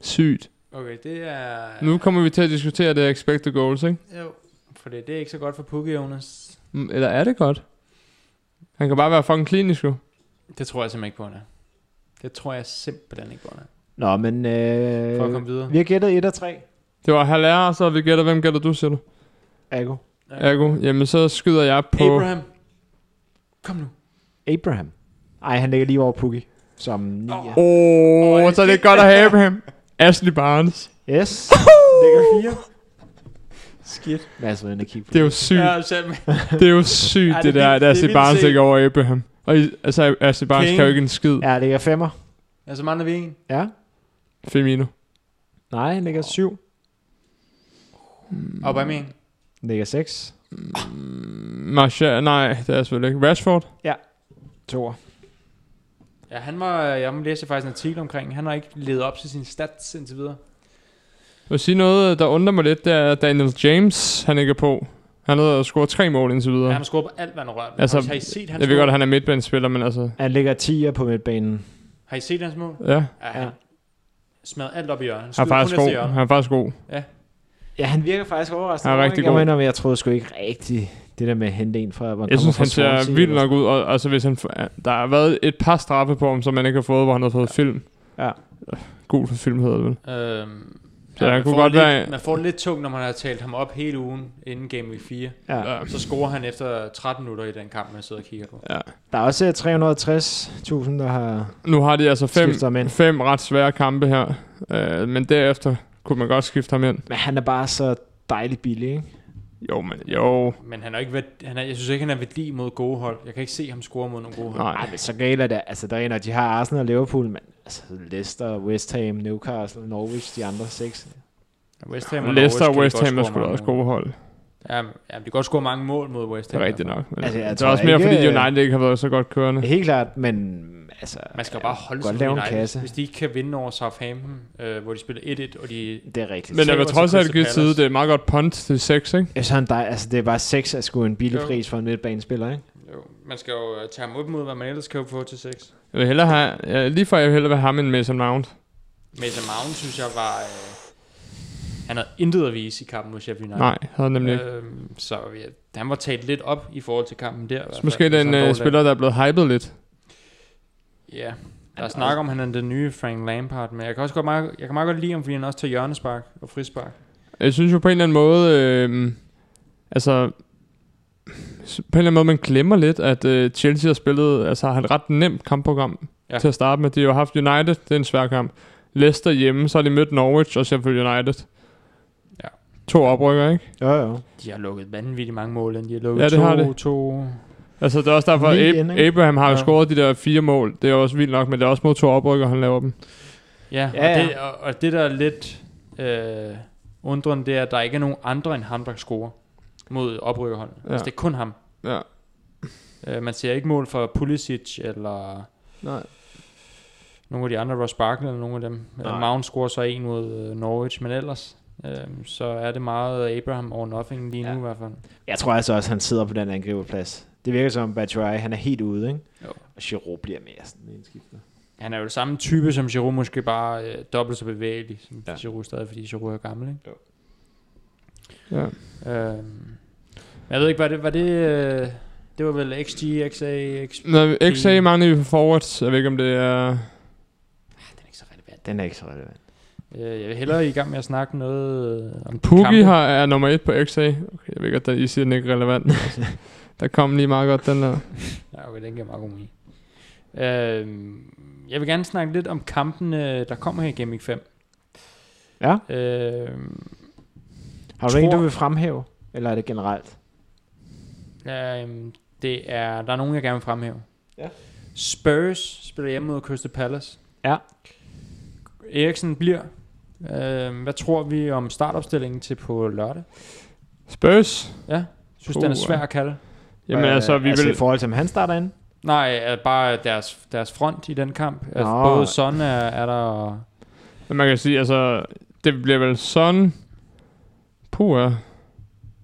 Speaker 3: Sygt.
Speaker 1: Okay, det er...
Speaker 3: Nu kommer vi til at diskutere det expected goals, ikke?
Speaker 1: Jo. For det, det er ikke så godt for Pukki, Jonas.
Speaker 3: Mm, Eller er det godt? Han kan bare være fucking klinisk, jo.
Speaker 1: Det tror jeg simpelthen ikke på, han er. Det tror jeg simpelthen ikke på, han er.
Speaker 5: Nå, men
Speaker 1: For at komme
Speaker 5: øh,
Speaker 1: videre.
Speaker 5: vi har gættet 1 og 3.
Speaker 3: Det var halvær, og så har vi gætter, hvem gætter du, siger du?
Speaker 5: Ago.
Speaker 3: Ergo, jamen så skyder jeg på...
Speaker 1: Abraham. Kom nu.
Speaker 5: Abraham. Ej, han ligger lige over Pukki. Som 9. Oh.
Speaker 3: Åh, oh, så er det godt at have Abraham. Ashley Barnes.
Speaker 5: Yes. ligger 4.
Speaker 1: Skidt.
Speaker 5: Lad os være inde og kigge på
Speaker 3: Det er jo sygt.
Speaker 1: Ja, altså,
Speaker 3: Ja.
Speaker 1: selv.
Speaker 3: Det er jo sygt,
Speaker 1: Ja,
Speaker 3: ja,
Speaker 1: det
Speaker 3: det,
Speaker 1: er
Speaker 3: der,
Speaker 1: vildt-
Speaker 3: at
Speaker 1: det er
Speaker 3: Ashley
Speaker 1: vildt
Speaker 3: Barnes
Speaker 1: set.
Speaker 3: ligger over Abraham. Og i- altså, Ashley Barnes
Speaker 1: Kane.
Speaker 3: kan jo ikke en skid.
Speaker 5: Ja, han ligger 5'er.
Speaker 1: Altså, mangler vi en.
Speaker 5: Ja.
Speaker 3: Femino.
Speaker 5: Nej, han ligger 7.
Speaker 3: Mm.
Speaker 1: Og hvad med en?
Speaker 5: Ligger 6.
Speaker 3: Martial, nej, det er selvfølgelig ikke. Rashford.
Speaker 5: 2'er.
Speaker 1: Ja, han var, jeg læste faktisk en artikel omkring, han har ikke levet op til sin stats indtil videre.
Speaker 3: Jeg vil sige noget, der undrer mig lidt, det er at Daniel James, han ikke er på. Han har scoret tre mål indtil
Speaker 1: Ja.
Speaker 3: videre.
Speaker 1: Han har scoret på alt, hvad han rørt. Altså,
Speaker 3: Altså,
Speaker 1: har I set hans
Speaker 3: Jeg ved
Speaker 1: mål?
Speaker 3: godt, at han er midtbanespiller, men altså...
Speaker 5: Han ligger 10'er på midtbanen.
Speaker 1: Har I set hans mål?
Speaker 3: Ja,
Speaker 1: Ja, han
Speaker 5: Ja.
Speaker 1: smadrede alt op i hjørnet. Han
Speaker 3: han er
Speaker 1: skyder kun
Speaker 3: faktisk
Speaker 1: efter
Speaker 3: god.
Speaker 1: hjørnet.
Speaker 3: Han er faktisk god.
Speaker 5: Ja, han virker faktisk overraskende.
Speaker 3: Han er rigtig
Speaker 5: jeg
Speaker 3: god.
Speaker 5: mener, men jeg troede sgu ikke rigtigt det der med at hente en fra... hvor
Speaker 3: Jeg
Speaker 5: kommer
Speaker 3: synes,
Speaker 5: fra
Speaker 3: han ser
Speaker 5: Swansea
Speaker 3: vildt
Speaker 5: eller
Speaker 3: nok ud. Og, altså, hvis han, f- der har været et par straffe på ham, som man ikke har fået, hvor han har fået film.
Speaker 5: Ja.
Speaker 3: God for film hedder det vel.
Speaker 1: Øhm,
Speaker 3: Så han
Speaker 1: man
Speaker 3: kunne
Speaker 1: får
Speaker 3: godt
Speaker 1: lidt,
Speaker 3: være-
Speaker 1: Man får det lidt tungt, når man har talt ham op hele ugen inden Game Week 4.
Speaker 5: sådan noget. Ja.
Speaker 3: Ja.
Speaker 1: Så scorer han efter 13 minutter i den kamp, man sidder og kigger på.
Speaker 3: ja.
Speaker 5: Der er også øh, 360.000, der har...
Speaker 3: Nu har de altså
Speaker 5: Skifter ham
Speaker 3: fem,
Speaker 5: ind.
Speaker 3: fem ret svære kampe her. Øh, men derefter kunne man godt skifte ham ind.
Speaker 5: Men han er bare så dejlig billig, ikke?
Speaker 3: Jo, men jo.
Speaker 1: Men han er ikke værd, han er, jeg synes ikke, han er værdi mod gode hold. Jeg kan ikke se ham score mod nogle gode hold.
Speaker 5: Ej,
Speaker 3: Nej.
Speaker 5: men så galt er det. Altså, der er en, og de har Arsenal og Liverpool, men altså, Leicester, West Ham, Newcastle, Norwich, de andre seks.
Speaker 1: West Ham
Speaker 3: Leicester og
Speaker 1: Norwich kan
Speaker 3: West Ham er
Speaker 1: godt
Speaker 3: sgu da
Speaker 1: mange
Speaker 3: også
Speaker 1: mål.
Speaker 3: gode hold.
Speaker 1: Jamen, ja, de kan godt score mange mål mod West
Speaker 3: Det
Speaker 1: Ham.
Speaker 3: er rigtigt nok.
Speaker 5: Altså,
Speaker 3: Men altså,
Speaker 5: jeg
Speaker 3: det er
Speaker 5: tror
Speaker 3: også mere,
Speaker 5: ikke-
Speaker 3: fordi United ikke har været så godt kørende.
Speaker 5: Helt klart, men altså...
Speaker 1: Man skal jo bare holde
Speaker 5: godt
Speaker 1: sig
Speaker 5: lave en
Speaker 1: United.
Speaker 5: kasse.
Speaker 1: Hvis de ikke kan vinde over Southampton, øh, hvor de spiller 1-1, og de...
Speaker 5: Det er rigtigt.
Speaker 3: Men jeg
Speaker 1: taber
Speaker 3: vil
Speaker 1: til
Speaker 3: trods alt
Speaker 1: Crystal
Speaker 3: give
Speaker 1: Palace.
Speaker 3: side, det er et meget godt punt til 6, ikke?
Speaker 5: Jeg synes, han dej, altså, det er bare seks at sgu en billig
Speaker 1: Jo.
Speaker 5: pris for en midtbanespiller, ikke?
Speaker 1: Jo, man skal jo øh, tage ham op mod, hvad man ellers kan få til 6.
Speaker 3: Jeg vil hellere have, ja, lige før jeg vil hellere vil have ham en Mason Mount.
Speaker 1: Mason Mount, synes jeg, var... Øh, han havde intet at vise i kampen mod Sheffield United.
Speaker 3: Nej, havde han nemlig ikke.
Speaker 1: Øhm, så ja, han var talt lidt op i forhold til kampen der. i hvert fald.
Speaker 3: Måske
Speaker 1: Så
Speaker 3: den
Speaker 1: en
Speaker 3: øh,
Speaker 1: dårlig-
Speaker 3: spiller, der er blevet hypet lidt.
Speaker 1: Ja, der er snak om, han er den nye Frank Lampard, men jeg kan også godt meget, jeg kan meget godt lide ham, fordi han også tager hjørnespark og frispark.
Speaker 3: Jeg synes jo på en eller anden måde, øh, altså, øhm, s- på en eller anden måde, man glemmer lidt, at øh, Chelsea har spillet, altså har et ret nemt kampprogram
Speaker 1: Ja.
Speaker 3: ja. til at starte med. De har jo haft United, det er en svær kamp. Leicester hjemme, så har de mødt Norwich og selvfølgelig United.
Speaker 1: Ja.
Speaker 3: To oprykker, ikke?
Speaker 5: Jo, jo.
Speaker 1: De har lukket vanvittigt mange mål, end de har lukket
Speaker 3: Ja, det
Speaker 1: to,
Speaker 3: har det.
Speaker 1: to...
Speaker 3: Altså, det er også derfor,
Speaker 5: Lige
Speaker 3: at
Speaker 5: igen,
Speaker 3: Ab-
Speaker 5: ikke?
Speaker 3: Abraham har jo
Speaker 5: Ja.
Speaker 3: scoret de der fire mål. Det er jo også vildt nok, men det er også mod to oprykker, han laver dem.
Speaker 1: Ja,
Speaker 5: Ja,
Speaker 1: og,
Speaker 5: ja.
Speaker 1: det, og, og det, der er lidt øh, undrende, det er, at der ikke er nogen andre end ham, der scorer mod oprykkerholdet. Ja.
Speaker 3: Ja.
Speaker 1: Altså, det er kun ham.
Speaker 3: Ja.
Speaker 1: Øh, man ser ikke mål for Pulisic eller
Speaker 3: Nej.
Speaker 1: nogle af de andre, Ross Barkley eller nogle af dem. Nej.
Speaker 5: Nej.
Speaker 1: Mount scorer så en mod øh, Norwich, men ellers øh, så er det meget Abraham or nothing lige nu
Speaker 5: Ja.
Speaker 1: i hvert fald.
Speaker 5: Jeg tror altså også, han sidder på den angriberplads. Det virker som, Batshuayi, han er helt ude, ikke?
Speaker 1: Jo.
Speaker 5: Og Giroud bliver mere sådan en skifter.
Speaker 1: Han er jo det samme type som Giroud, måske bare øh, dobbelt så bevægelig som ja.
Speaker 5: Ja.
Speaker 1: Giroud stadig, fordi Giroud er gammel, ikke?
Speaker 3: Ja.
Speaker 1: Øh, jeg ved ikke, var det... Var det øh, det var vel XG, XA, XP?
Speaker 3: Når XA mangler vi for forwards, jeg ved ikke, om det er...
Speaker 1: Ah, Den er ikke så relevant.
Speaker 5: Den er ikke så relevant.
Speaker 1: Øh, jeg vil hellere i gang med at snakke noget øh, om
Speaker 3: Pukki
Speaker 1: kampe.
Speaker 3: har, er nummer et på XA. Okay, jeg ved godt, at I siger, den ikke er
Speaker 5: [laughs]
Speaker 3: relevant. men altså, der kom lige meget godt, den der.
Speaker 1: Ja, okay, den giver meget god mening. Øh, jeg vil gerne snakke lidt om kampen, der kommer her i Gaming 5.
Speaker 5: Ja.
Speaker 1: Øh,
Speaker 5: Har du
Speaker 1: Tror-
Speaker 5: en, du vil fremhæve? Eller er det generelt?
Speaker 1: øh, det er, der er nogen, jeg gerne vil fremhæve.
Speaker 5: Ja.
Speaker 1: Spurs spiller hjemme mod Crystal Palace.
Speaker 5: Ja.
Speaker 1: Eriksen bliver. Øh, hvad tror vi om startopstillingen til på lørdag?
Speaker 3: Spurs.
Speaker 1: Ja, synes den er
Speaker 3: Puh,
Speaker 1: svær
Speaker 3: ja.
Speaker 1: at kalde.
Speaker 3: Jamen
Speaker 5: Øh,
Speaker 3: altså, vi
Speaker 5: altså
Speaker 3: vil...
Speaker 5: i forhold til, om han starter ind?
Speaker 1: Nej, er bare deres, deres front i den kamp. Altså,
Speaker 5: Nå.
Speaker 1: både Son er, er der... og-
Speaker 3: Men Man kan sige, altså, det bliver vel sådan... Puh, ja.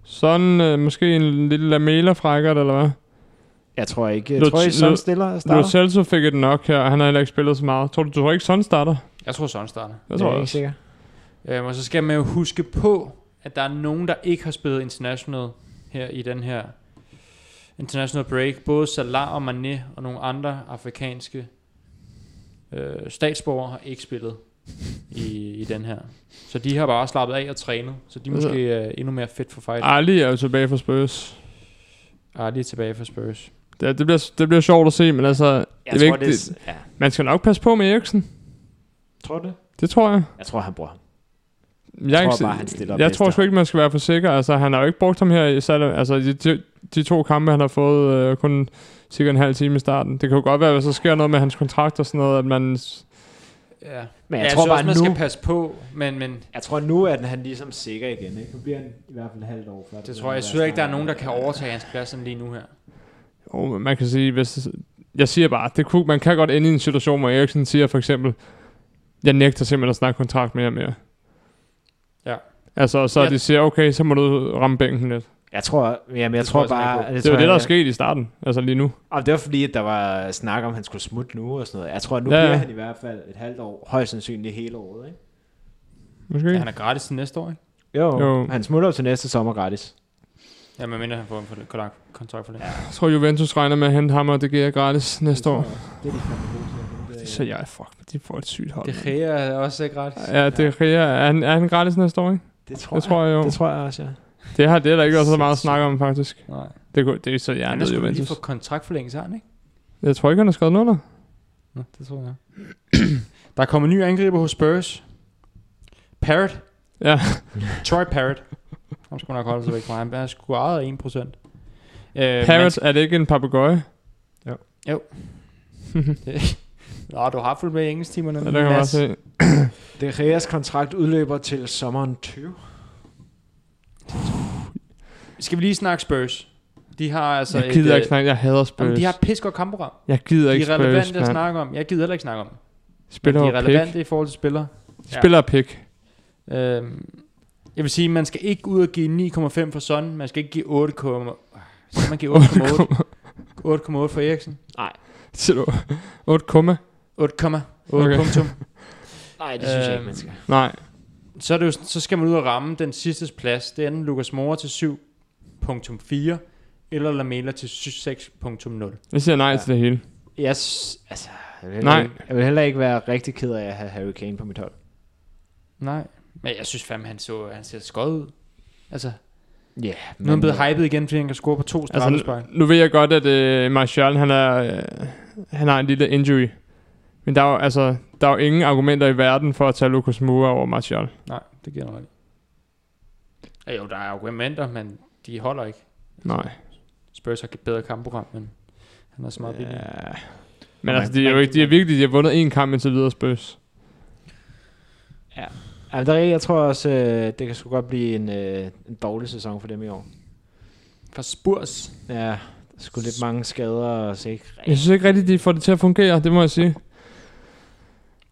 Speaker 3: Sådan, øh, måske en lille lamela frækkert, eller hvad?
Speaker 5: Jeg tror ikke. Jeg
Speaker 3: Lo-
Speaker 5: tror I,
Speaker 3: Lo-
Speaker 5: Son stiller og
Speaker 3: Lo
Speaker 5: starter?
Speaker 3: Celso fik et nok her, og han har heller ikke spillet så meget. Tror du, du tror ikke, sådan starter?
Speaker 1: Jeg tror, Son starter.
Speaker 3: Jeg
Speaker 5: Det er
Speaker 3: tror
Speaker 5: jeg
Speaker 3: jeg
Speaker 5: ikke
Speaker 3: også.
Speaker 5: sikker.
Speaker 1: Øhm, og så skal man jo huske på, at der er nogen, der ikke har spillet international her i den her international break. Både Salah og Mané og nogle andre afrikanske øh, statsborgere har ikke spillet i, i den her. Så de har bare slappet af og trænet, så de er
Speaker 3: Altså-
Speaker 1: måske er endnu mere fedt for fight.
Speaker 3: Ali er jo tilbage for Spurs.
Speaker 1: Ah, de er tilbage for Spurs.
Speaker 3: Det, det, bliver, det bliver sjovt at se, men altså,
Speaker 5: Jeg
Speaker 3: det er
Speaker 5: tror,
Speaker 3: ikke-
Speaker 5: det er... s- Ja.
Speaker 3: man skal nok passe på med Eriksen.
Speaker 5: Tror du det?
Speaker 3: Det tror jeg.
Speaker 5: Jeg tror, han bruger ham.
Speaker 3: Jeg,
Speaker 5: Jeg
Speaker 3: er
Speaker 5: tror
Speaker 3: ikke-
Speaker 5: bare, han stiller op
Speaker 3: Jeg
Speaker 5: næste
Speaker 3: tror sgu
Speaker 5: år.
Speaker 3: ikke, man skal være for sikker. Altså, han har jo ikke brugt ham her i særlig, Altså, de, de, de to kampe, han har fået øh, kun cirka en halv time i starten. Det kan jo godt være, at der så sker noget med hans kontrakt og sådan noget, at man...
Speaker 1: Ja.
Speaker 5: Men
Speaker 1: Men
Speaker 5: jeg,
Speaker 1: jeg, jeg tror
Speaker 5: tror
Speaker 1: synes
Speaker 5: bare
Speaker 1: også, man
Speaker 5: nu...
Speaker 1: skal passe på, men, men
Speaker 5: Jeg tror nu, at han ligesom sikker igen. Ikke? Nu bliver han i hvert fald et halvt år før.
Speaker 1: det tror jeg, jeg synes ikke, der er nogen, der kan overtage hans plads sådan lige nu her.
Speaker 3: Jo, men man kan sige, hvis... Jeg siger bare, det kunne, man kan godt ende i en situation, hvor Eriksen siger for eksempel, jeg nægter simpelthen at snakke kontrakt mere og mere.
Speaker 1: Ja.
Speaker 3: Altså, og så
Speaker 1: Ja.
Speaker 3: ja. de siger, okay, så må du ramme bænken lidt.
Speaker 5: Jeg tror, jamen, jeg
Speaker 1: Det tror
Speaker 5: tror
Speaker 1: jeg simpelthen
Speaker 5: bare...
Speaker 1: ikke på.
Speaker 3: Det er jo
Speaker 5: tror
Speaker 3: det, der er
Speaker 5: jeg-
Speaker 3: sket i starten, altså lige nu.
Speaker 5: Og det var fordi, at der var snak om, at han skulle smutte nu og sådan noget. Jeg tror, at nu
Speaker 3: Ja,
Speaker 5: ja.
Speaker 3: ja.
Speaker 5: bliver han i hvert fald et halvt år. Højst sandsynligt hele året, ikke?
Speaker 3: Måske?
Speaker 1: Ja, han er gratis til næste år, ikke?
Speaker 5: Jo,
Speaker 3: Jo.
Speaker 5: han smutter jo til næste sommer gratis.
Speaker 1: Ja, men mindre han får en for- kontrakt- kontrakt for det.
Speaker 3: Jeg tror, Juventus regner med at hente ham, og det giver gratis næste år.
Speaker 5: Det er de fandme gode til.
Speaker 3: Det er så jeg, fuck, de får et sygt hold.
Speaker 1: Det
Speaker 3: mand.
Speaker 1: Gea er også ikke gratis.
Speaker 3: Ja, det er Rea. Er han, er han gratis næste år, ikke?
Speaker 5: Det tror,
Speaker 3: Det tror jeg jo.
Speaker 5: Det tror jeg også, ja.
Speaker 3: Det har det er der ikke været så meget at snakke om, faktisk.
Speaker 1: Nej.
Speaker 3: Det, kunne, det er så jeg
Speaker 1: Han
Speaker 3: ved
Speaker 1: er sgu lige
Speaker 3: Juventus.
Speaker 1: for kontraktforlængelse, har han ikke?
Speaker 3: Jeg tror ikke, han har skrevet noget under.
Speaker 1: Nå, det tror jeg. [clears throat] der er kommet en ny angriber hos Spurs. Parrot.
Speaker 3: Ja.
Speaker 1: Troy Parrot. Han skulle nok holde sig væk fra ham. Han skulle ejet af 1%. Øh, man
Speaker 3: Parrot,
Speaker 1: skal-
Speaker 3: er det ikke en papegøje?
Speaker 1: Nå, du har fulgt med i engelsktimerne.
Speaker 3: Ja, det kan man bare
Speaker 1: Mads.
Speaker 3: se.
Speaker 5: Det er Reas kontrakt udløber til sommeren 20.
Speaker 1: Skal vi lige snakke Spurs? De har altså
Speaker 3: Jeg gider
Speaker 1: øh,
Speaker 3: ikke snakke. Jeg hader
Speaker 1: Jamen,
Speaker 3: Spurs.
Speaker 1: de har pisk og kampprogram.
Speaker 3: Jeg gider
Speaker 1: De
Speaker 3: ikke
Speaker 1: er relevante
Speaker 3: Spurs,
Speaker 1: at
Speaker 3: mand.
Speaker 1: snakke om. Jeg gider heller ikke snakke om dem.
Speaker 3: Spiller
Speaker 1: De
Speaker 3: og
Speaker 1: er relevante
Speaker 3: pik.
Speaker 1: i forhold til spillere. ja.
Speaker 3: Spiller og pik. [laughs]
Speaker 1: Øhm, jeg vil sige, man skal ikke ud og give 9,5 for Son. Man skal ikke give 8, skal man give 8,8 8,8 for Eriksen.
Speaker 3: Siger du? 8 komma?
Speaker 1: 8, 8
Speaker 3: Okay.
Speaker 1: punktum.
Speaker 5: Nej,
Speaker 1: det synes jeg ikke, man
Speaker 3: Øhm.
Speaker 1: skal.
Speaker 3: Nej.
Speaker 1: Så, er det jo, så skal man ud og ramme den sidste plads. Det er enten Lukas Mora til 7,4 eller Lamela til 6,0.
Speaker 3: Jeg siger nej
Speaker 5: Ja.
Speaker 3: til det hele.
Speaker 5: Jeg, s- altså, jeg, vil heller
Speaker 3: Nej.
Speaker 5: Ikke, jeg vil heller ikke være rigtig ked af at have Harry Kane på mit hold.
Speaker 1: Nej, men jeg synes fandme, han, så, han ser skød ud. Altså,
Speaker 5: Ja,
Speaker 1: Nu er han
Speaker 5: men,
Speaker 1: blevet
Speaker 5: øh,
Speaker 1: hypet igen, fordi han kan score på to
Speaker 3: Altså,
Speaker 1: straffespark. Altså,
Speaker 3: nu, nu ved jeg godt, at øh, Martial, han, er, øh, han har en lille injury. Men der er, jo, altså, der er jo ingen argumenter i verden for at tage Lucas Moura over Martial.
Speaker 1: Nej, det giver noget. Ja, jo, der er argumenter, men de holder ikke.
Speaker 3: Nej.
Speaker 1: Spurs har et bedre kampprogram, men han er så meget billig.
Speaker 3: Ja. Men altså, de er jo ikke, de er virkelig, de har vundet en kamp indtil videre Spurs.
Speaker 5: Ja, der er, øh, jeg tror også, øh, det kan sgu godt blive en, øh, en dårlig sæson for dem i år.
Speaker 1: For Spurs.
Speaker 5: Ja, der er sgu lidt mange skader og så ikke rigtig.
Speaker 3: Jeg synes ikke rigtigt, de får det til at fungere, det må jeg sige.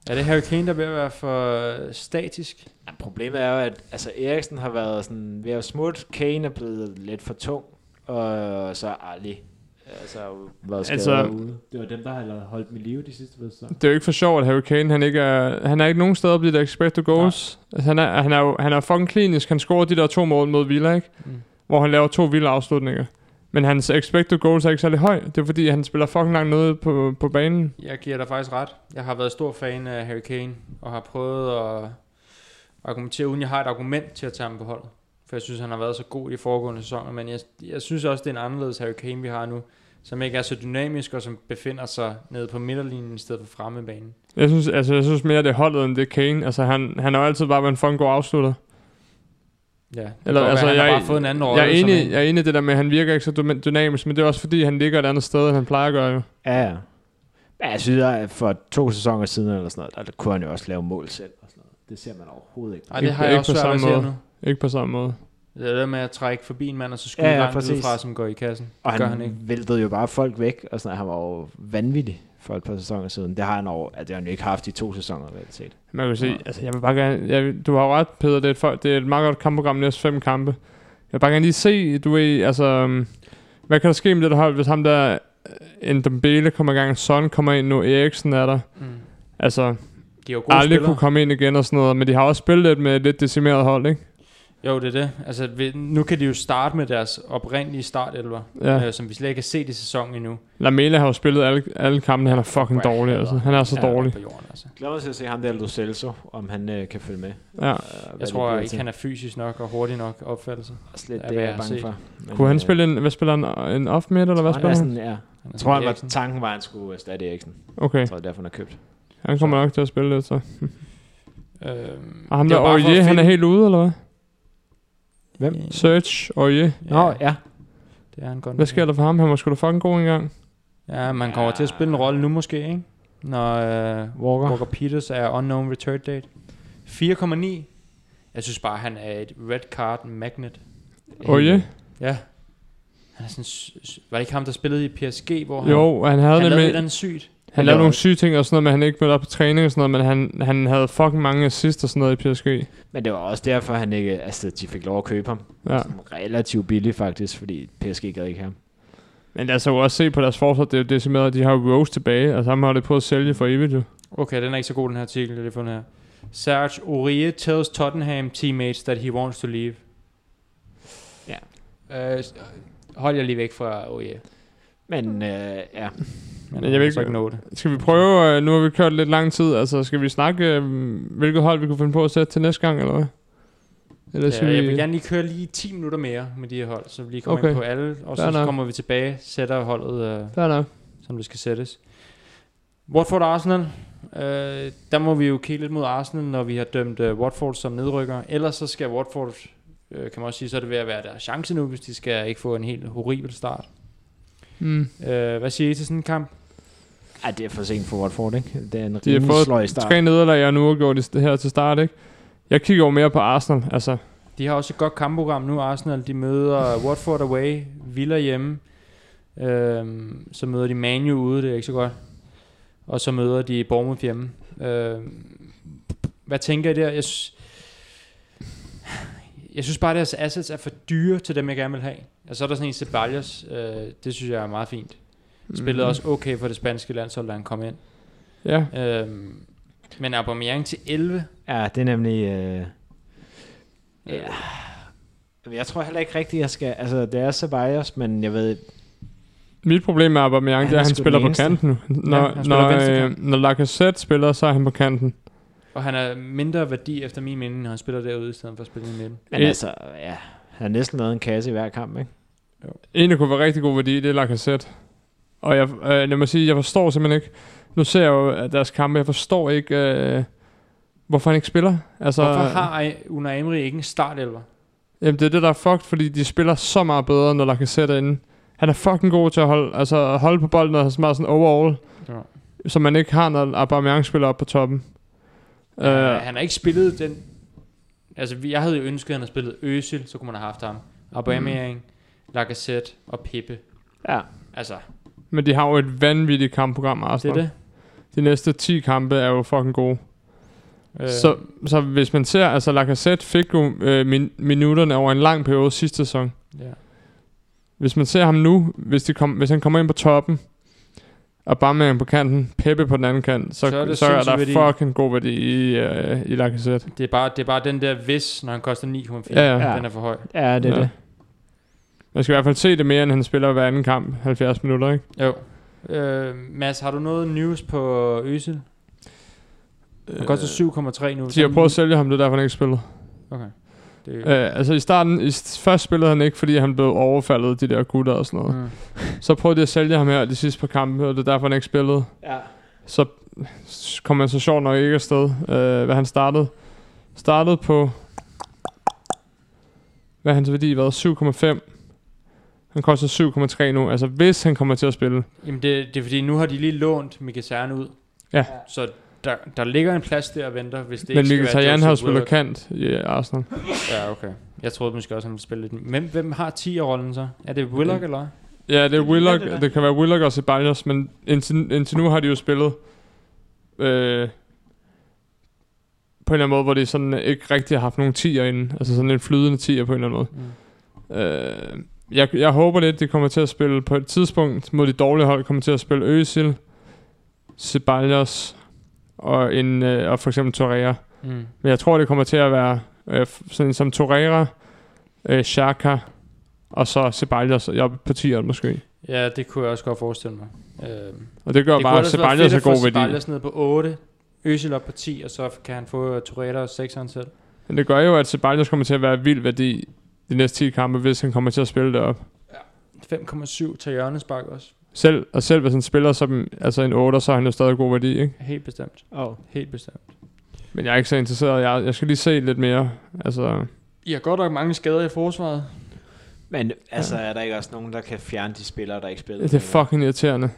Speaker 1: Er det Harry Kane, der er ved at være for øh, statisk?
Speaker 5: Ja, problemet er jo, at altså, Eriksen har været sådan, ved at smutte, Kane er blevet lidt for tung, og så Ali. Altså, har jo været skadet
Speaker 3: Altså-
Speaker 5: altså, ude.
Speaker 6: Det var dem, der har holdt mit live de sidste ved sæsoner.
Speaker 3: Det er jo ikke for sjovt, at Harry Kane, han ikke er, han er ikke nogen steder blevet expected goals. Altså, han, er, han, er jo, han er fucking klinisk. Han scorer de der to mål mod Villa, ikke?
Speaker 1: Mm.
Speaker 3: Mm. Hvor han laver to vilde afslutninger. Men hans expected goals er ikke særlig høj. Det er fordi, han spiller fucking langt nede på, på banen.
Speaker 1: Jeg giver dig faktisk ret. Jeg har været stor fan af Harry Kane, og har prøvet at argumentere, uden jeg har et argument til at tage ham på holdet. For jeg synes, han har været så god i de foregående sæsoner, men jeg, jeg synes også, det er en anderledes Harry Kane, vi har nu, som ikke er så dynamisk, og som befinder sig nede på midterlinjen i stedet for fremme i banen.
Speaker 3: Jeg synes, altså, jeg synes mere, det er holdet, end det er Kane. Altså, han, han har jo altid bare været en fucking god afslutter.
Speaker 1: Ja, det kan
Speaker 3: Eller,
Speaker 1: godt
Speaker 3: altså,
Speaker 1: være, han
Speaker 3: jeg-
Speaker 1: har bare fået en anden rolle.
Speaker 3: Jeg er,
Speaker 1: som
Speaker 3: enig,
Speaker 1: en-
Speaker 3: jeg er enig i det der med, at han virker ikke så dyna- dynamisk, men det er også fordi, han ligger et andet sted, end han plejer at gøre jo.
Speaker 5: Ja, ja. Ja, jeg synes, at for to sæsoner siden eller sådan noget, der kunne han jo også lave mål selv.
Speaker 6: Og sådan noget. Det ser man overhovedet ikke.
Speaker 1: Ej, det
Speaker 3: Ikke-
Speaker 1: har jeg
Speaker 3: ikke
Speaker 1: også
Speaker 3: på
Speaker 1: svært ved at
Speaker 3: samme
Speaker 1: se
Speaker 3: måde.
Speaker 1: nu.
Speaker 3: Ikke på samme måde.
Speaker 1: Det er det med at trække forbi en mand, og så skyde
Speaker 5: Ja,
Speaker 1: ja,
Speaker 5: ja,
Speaker 1: ja, langt ud
Speaker 5: præcis.
Speaker 1: fra, som går i kassen. Det
Speaker 5: Og han,
Speaker 1: gør han ikke.
Speaker 5: væltede jo bare folk væk, og sådan noget. Han var jo vanvittig for et par sæsoner siden. Det har han, over, at det har han jo ikke haft i to sæsoner, reelt set.
Speaker 3: Man kan sige, altså jeg vil bare gerne, jeg, vil- du har jo ret, Peter, det er, et, for- det er et meget godt kampprogram, næste fem kampe. Jeg vil bare gerne lige se, du ved, altså, øhm, hvad kan der ske med det der hold, hvis ham der, en Dembele kommer i gang, Son kommer ind nu, Eriksen er der.
Speaker 1: Mm.
Speaker 3: Altså,
Speaker 1: De er jo gode
Speaker 3: alle
Speaker 1: spillere.
Speaker 3: kunne komme ind igen og sådan noget, men de har også spillet lidt med et lidt decimeret hold, ikke?
Speaker 1: Jo, det er det. Altså, vi- nu kan de jo starte med deres oprindelige startelver, ja.
Speaker 3: Ja.
Speaker 1: øh, som vi slet ikke har set i sæsonen endnu.
Speaker 3: Lamela har jo spillet alle, alle kampene, han er fucking
Speaker 1: Bra,
Speaker 3: dårlig,
Speaker 1: hader.
Speaker 3: altså. Han er så
Speaker 1: Ja,
Speaker 3: dårlig.
Speaker 1: På jorden, altså.
Speaker 5: Glæder mig til at se ham der, Lo Celso, om han øh, kan følge med.
Speaker 3: Ja.
Speaker 1: Jeg tror ikke, han er fysisk nok og hurtig nok opfattelse.
Speaker 5: også lidt
Speaker 1: er,
Speaker 5: det,
Speaker 1: hvad jeg
Speaker 5: jeg er
Speaker 1: har
Speaker 5: bange
Speaker 1: set.
Speaker 5: for. Men,
Speaker 3: Kunne han
Speaker 5: øh,
Speaker 3: spille en, hvad spiller han, en off midt, eller hvad
Speaker 5: tror, han er
Speaker 3: spiller han?
Speaker 5: sådan, ja.
Speaker 1: Han er
Speaker 5: Jeg tror,
Speaker 1: sådan
Speaker 5: han var,
Speaker 1: Eriksen.
Speaker 5: tanken var, at han skulle erstatte Eriksen.
Speaker 3: Okay,
Speaker 5: Jeg tror, det er derfor, han har købt.
Speaker 3: han kommer nok til at spille lidt, så.
Speaker 1: Øhm,
Speaker 3: Og ham
Speaker 1: det
Speaker 3: der
Speaker 1: var bare for
Speaker 3: Aurier,
Speaker 1: at
Speaker 3: han er
Speaker 1: finde-
Speaker 3: helt ude, eller hvad?
Speaker 5: Hvem?
Speaker 3: Search, Aurier.
Speaker 1: Ja,
Speaker 5: Nå, ja.
Speaker 1: det er han godt.
Speaker 3: Hvad sker der for ham? Han var sgu da fucking god engang.
Speaker 1: Ja, man kommer til at spille en rolle nu måske, ikke? Når øh,
Speaker 5: Walker.
Speaker 1: Walker Peters er unknown return date. 4,9. Jeg synes bare, han er et red card magnet.
Speaker 3: Oje.
Speaker 1: Ja. Han er sådan, sy- sy- var det ikke ham, der spillede i PSG, hvor han,
Speaker 3: Jo, han havde,
Speaker 1: han lavede et
Speaker 3: han,
Speaker 1: eller
Speaker 3: med,
Speaker 1: andet sygt?
Speaker 3: han lavede nogle syge ting og sådan noget, men han ikke mødte op på træning og sådan noget, men han, han havde fucking mange assist og sådan noget i PSG.
Speaker 5: Men det var også derfor, han ikke, altså, de fik lov at købe ham.
Speaker 3: Ja.
Speaker 5: Sådan Relativt billigt faktisk, fordi PSG gad ikke have ham.
Speaker 3: Men lad os jo også se på deres forsvar, det er jo decimeret, de har jo Rose tilbage, Altså, og så har det på at sælge for evigt jo.
Speaker 1: Okay, den er ikke så god, den her artikel, jeg lige har fundet her. Serge Aurier tells Tottenham teammates that he wants to leave.
Speaker 5: Ja.
Speaker 1: Øh, s- hold jer lige væk fra Aurier.
Speaker 5: Men øh, ja,
Speaker 1: Men
Speaker 3: jeg vil
Speaker 1: kan
Speaker 3: ikke-
Speaker 1: så ikke nå det.
Speaker 3: Skal vi prøve, øh, nu har vi kørt lidt lang tid, altså skal vi snakke, øh, hvilket hold vi kunne finde på at sætte til næste gang, eller hvad? Eller skal
Speaker 1: Ja, jeg
Speaker 3: vi...
Speaker 1: vil gerne lige køre lige 10 minutter mere med de her hold, så vi lige kommer
Speaker 3: Okay.
Speaker 1: ind på alle, og
Speaker 3: Fair
Speaker 1: så,
Speaker 3: nok.
Speaker 1: kommer vi tilbage, sætter holdet, øh,
Speaker 3: Fair nok.
Speaker 1: som det skal sættes. Watford og Arsenal. Øh, der må vi jo kigge lidt mod Arsenal, når vi har dømt øh, Watford som nedrykker. Ellers så skal Watford, øh, kan man også sige, så er det ved at være deres chance nu, hvis de skal ikke få en helt horribel start.
Speaker 3: Mm.
Speaker 1: Øh, hvad siger I til sådan en kamp?
Speaker 5: Ej, det er for sent for Watford, ikke? Det er en
Speaker 3: De har
Speaker 5: rimelig
Speaker 3: fået
Speaker 5: sløj start.
Speaker 3: Tre nederlag, og nu har gjort det her til start, ikke? Jeg kigger jo mere på Arsenal, altså
Speaker 1: De har også et godt kampprogram nu, Arsenal. De møder Watford away, Villa hjemme. Øhm, så møder de Manu ude, det er ikke så godt. Og så møder de Bournemouth hjemme. Øhm, hvad tænker I der? Jeg, sy- jeg synes bare, at deres assets er for dyre til dem, jeg gerne vil have. Og så er der sådan en Ceballos. Øh, det synes jeg er meget fint. Spillede
Speaker 3: Mm.
Speaker 1: også okay for det spanske landshold, da han kom ind.
Speaker 3: Ja,
Speaker 1: Øhm, men Aubameyang til 11.
Speaker 5: Ja, det er nemlig... Øh, ja. Men Jeg tror heller ikke rigtigt, jeg skal... Altså, det er Ceballos, men jeg ved...
Speaker 3: mit problem med Aubameyang,
Speaker 5: Han
Speaker 3: det er,
Speaker 5: er
Speaker 3: at han
Speaker 5: sgu
Speaker 3: spiller
Speaker 5: den
Speaker 3: på
Speaker 5: eneste.
Speaker 3: kanten nu. Når, ja,
Speaker 1: han spiller
Speaker 3: når,
Speaker 1: venstre
Speaker 3: øh, når Lacazette spiller, så er han på kanten.
Speaker 1: Og han er mindre værdi efter min mening, når han spiller derude, i stedet for at spille i midten.
Speaker 5: Men
Speaker 3: Øh.
Speaker 5: altså, ja... Han har næsten lavet en kasse i hver kamp, ikke?
Speaker 3: En, der kunne være rigtig god værdi, det er Lacazette. Og jeg, øh, lad mig sige, jeg forstår simpelthen ikke, nu ser jeg jo øh, deres kampe, jeg forstår ikke, øh, hvorfor han ikke spiller. Altså,
Speaker 1: Hvorfor har I- Unai Emery ikke en startelver?
Speaker 3: Jamen, det er det, der er fucked, fordi de spiller så meget bedre, når Lacazette er inde. Han er fucking god til at holde, altså, at holde på bolden, og han er så meget sådan overall.
Speaker 1: Ja.
Speaker 3: Så man ikke har, når Aubameyang spiller op på toppen. Øh,
Speaker 1: Øh. Han har ikke spillet den... Altså, vi- jeg havde jo ønsket, at han havde spillet Øsil, så kunne man have haft ham. Aubameyang, mm. Lacazette og Pippe.
Speaker 5: Ja.
Speaker 1: Altså,
Speaker 3: men de har jo et vanvittigt kampprogram,
Speaker 1: det er
Speaker 3: Arsenal.
Speaker 1: det.
Speaker 3: De næste 10 kampe er jo fucking gode. Øh. Så, så hvis man ser, altså Lacazette fik jo øh, min, minutterne over en lang periode sidste sæson.
Speaker 1: Ja.
Speaker 3: Hvis man ser ham nu, hvis, de kom, hvis han kommer ind på toppen, og Aubameyang på kanten, Peppe på den anden kant, så, så er, det så er
Speaker 1: sindssyg
Speaker 3: der
Speaker 1: værdi.
Speaker 3: fucking god værdi i, øh, i Lacazette.
Speaker 1: Det er, bare, det er bare den der hvis, når han koster 9,4.
Speaker 3: Ja, ja.
Speaker 1: Den er for høj.
Speaker 5: Ja, det er
Speaker 3: Ja.
Speaker 5: ja. det.
Speaker 3: Man skal i hvert fald se det mere, end han spiller hver anden kamp, 70 minutter, ikke?
Speaker 1: Jo. Øh, Mads, har du noget news på Øsil?
Speaker 3: Øh,
Speaker 1: Han koster 7,3 nu.
Speaker 3: De har prøvet at sælge ham, det er derfor, han ikke spiller.
Speaker 1: Okay. Det er,
Speaker 3: Øh, altså i starten, i, s- først spillede han ikke, fordi han blev overfaldet, af de der gutter og sådan noget.
Speaker 1: mm.
Speaker 3: Så prøvede de at sælge ham her de sidste par kampe, og det er derfor, han ikke spillede.
Speaker 5: Ja.
Speaker 3: Så kom han så sjovt nok ikke afsted, øh, hvad han startede. Startede på... Hvad er hans værdi været? 7,5. Han koster 7,3 nu. Altså, hvis han kommer til at spille.
Speaker 1: Jamen, det, det er fordi, nu har de lige lånt Mkhitaryan ud.
Speaker 3: Ja.
Speaker 1: Så der, der ligger en plads der og venter, hvis det
Speaker 3: Men
Speaker 1: ikke skal være
Speaker 3: Mkhitaryan har jo
Speaker 1: Joseph
Speaker 3: spillet
Speaker 1: Willard.
Speaker 3: kant i Arsenal.
Speaker 1: Ja, okay. Jeg troede måske også, han ville spille lidt. Hvem, hvem har 10'er-rollen så? Er det
Speaker 3: Mm.
Speaker 1: Willock, eller hvad?
Speaker 3: Ja, det er Willock. Det, det kan være Willock og Ceballos, men indtil, indtil nu har de jo spillet... Øh, på en eller anden måde, hvor de sådan ikke rigtig har haft nogen tier inden. Altså sådan en flydende tier på en eller anden måde.
Speaker 1: Mm.
Speaker 3: Øh, jeg, jeg håber lidt, det kommer til at spille på et tidspunkt mod de dårlige hold, kommer til at spille Øsil, Ceballos og, en, øh, og for eksempel Torreira.
Speaker 1: Mm.
Speaker 3: Men jeg tror, det kommer til at være øh, f- sådan en som Torreira, øh, Xhaka og så Ceballos jeg på 10'eren måske.
Speaker 1: Ja, det kunne jeg også godt forestille mig. Øh, det
Speaker 3: Og det gør det bare, at Ceballos er god værdi.
Speaker 1: Ceballos ned på 8, Øsil op på 10, og så kan han få øh, Torreira og 6'eren selv.
Speaker 3: Men det gør jo, at Ceballos kommer til at være vild værdi de næste 10 kampe, hvis han kommer til at spille derop.
Speaker 1: 5,7 til hjørnespark også.
Speaker 3: Selv, og selv hvis han spiller som altså en 8, så er han jo stadig god værdi, ikke?
Speaker 1: Helt bestemt.
Speaker 5: Oh.
Speaker 1: Helt bestemt.
Speaker 3: Men jeg er ikke så interesseret. Jeg, jeg skal lige se lidt mere. Altså,
Speaker 1: I har godt nok mange skader i forsvaret.
Speaker 5: Men altså, er der ikke også nogen, der kan fjerne de spillere, der ikke spiller?
Speaker 3: det er fucking irriterende.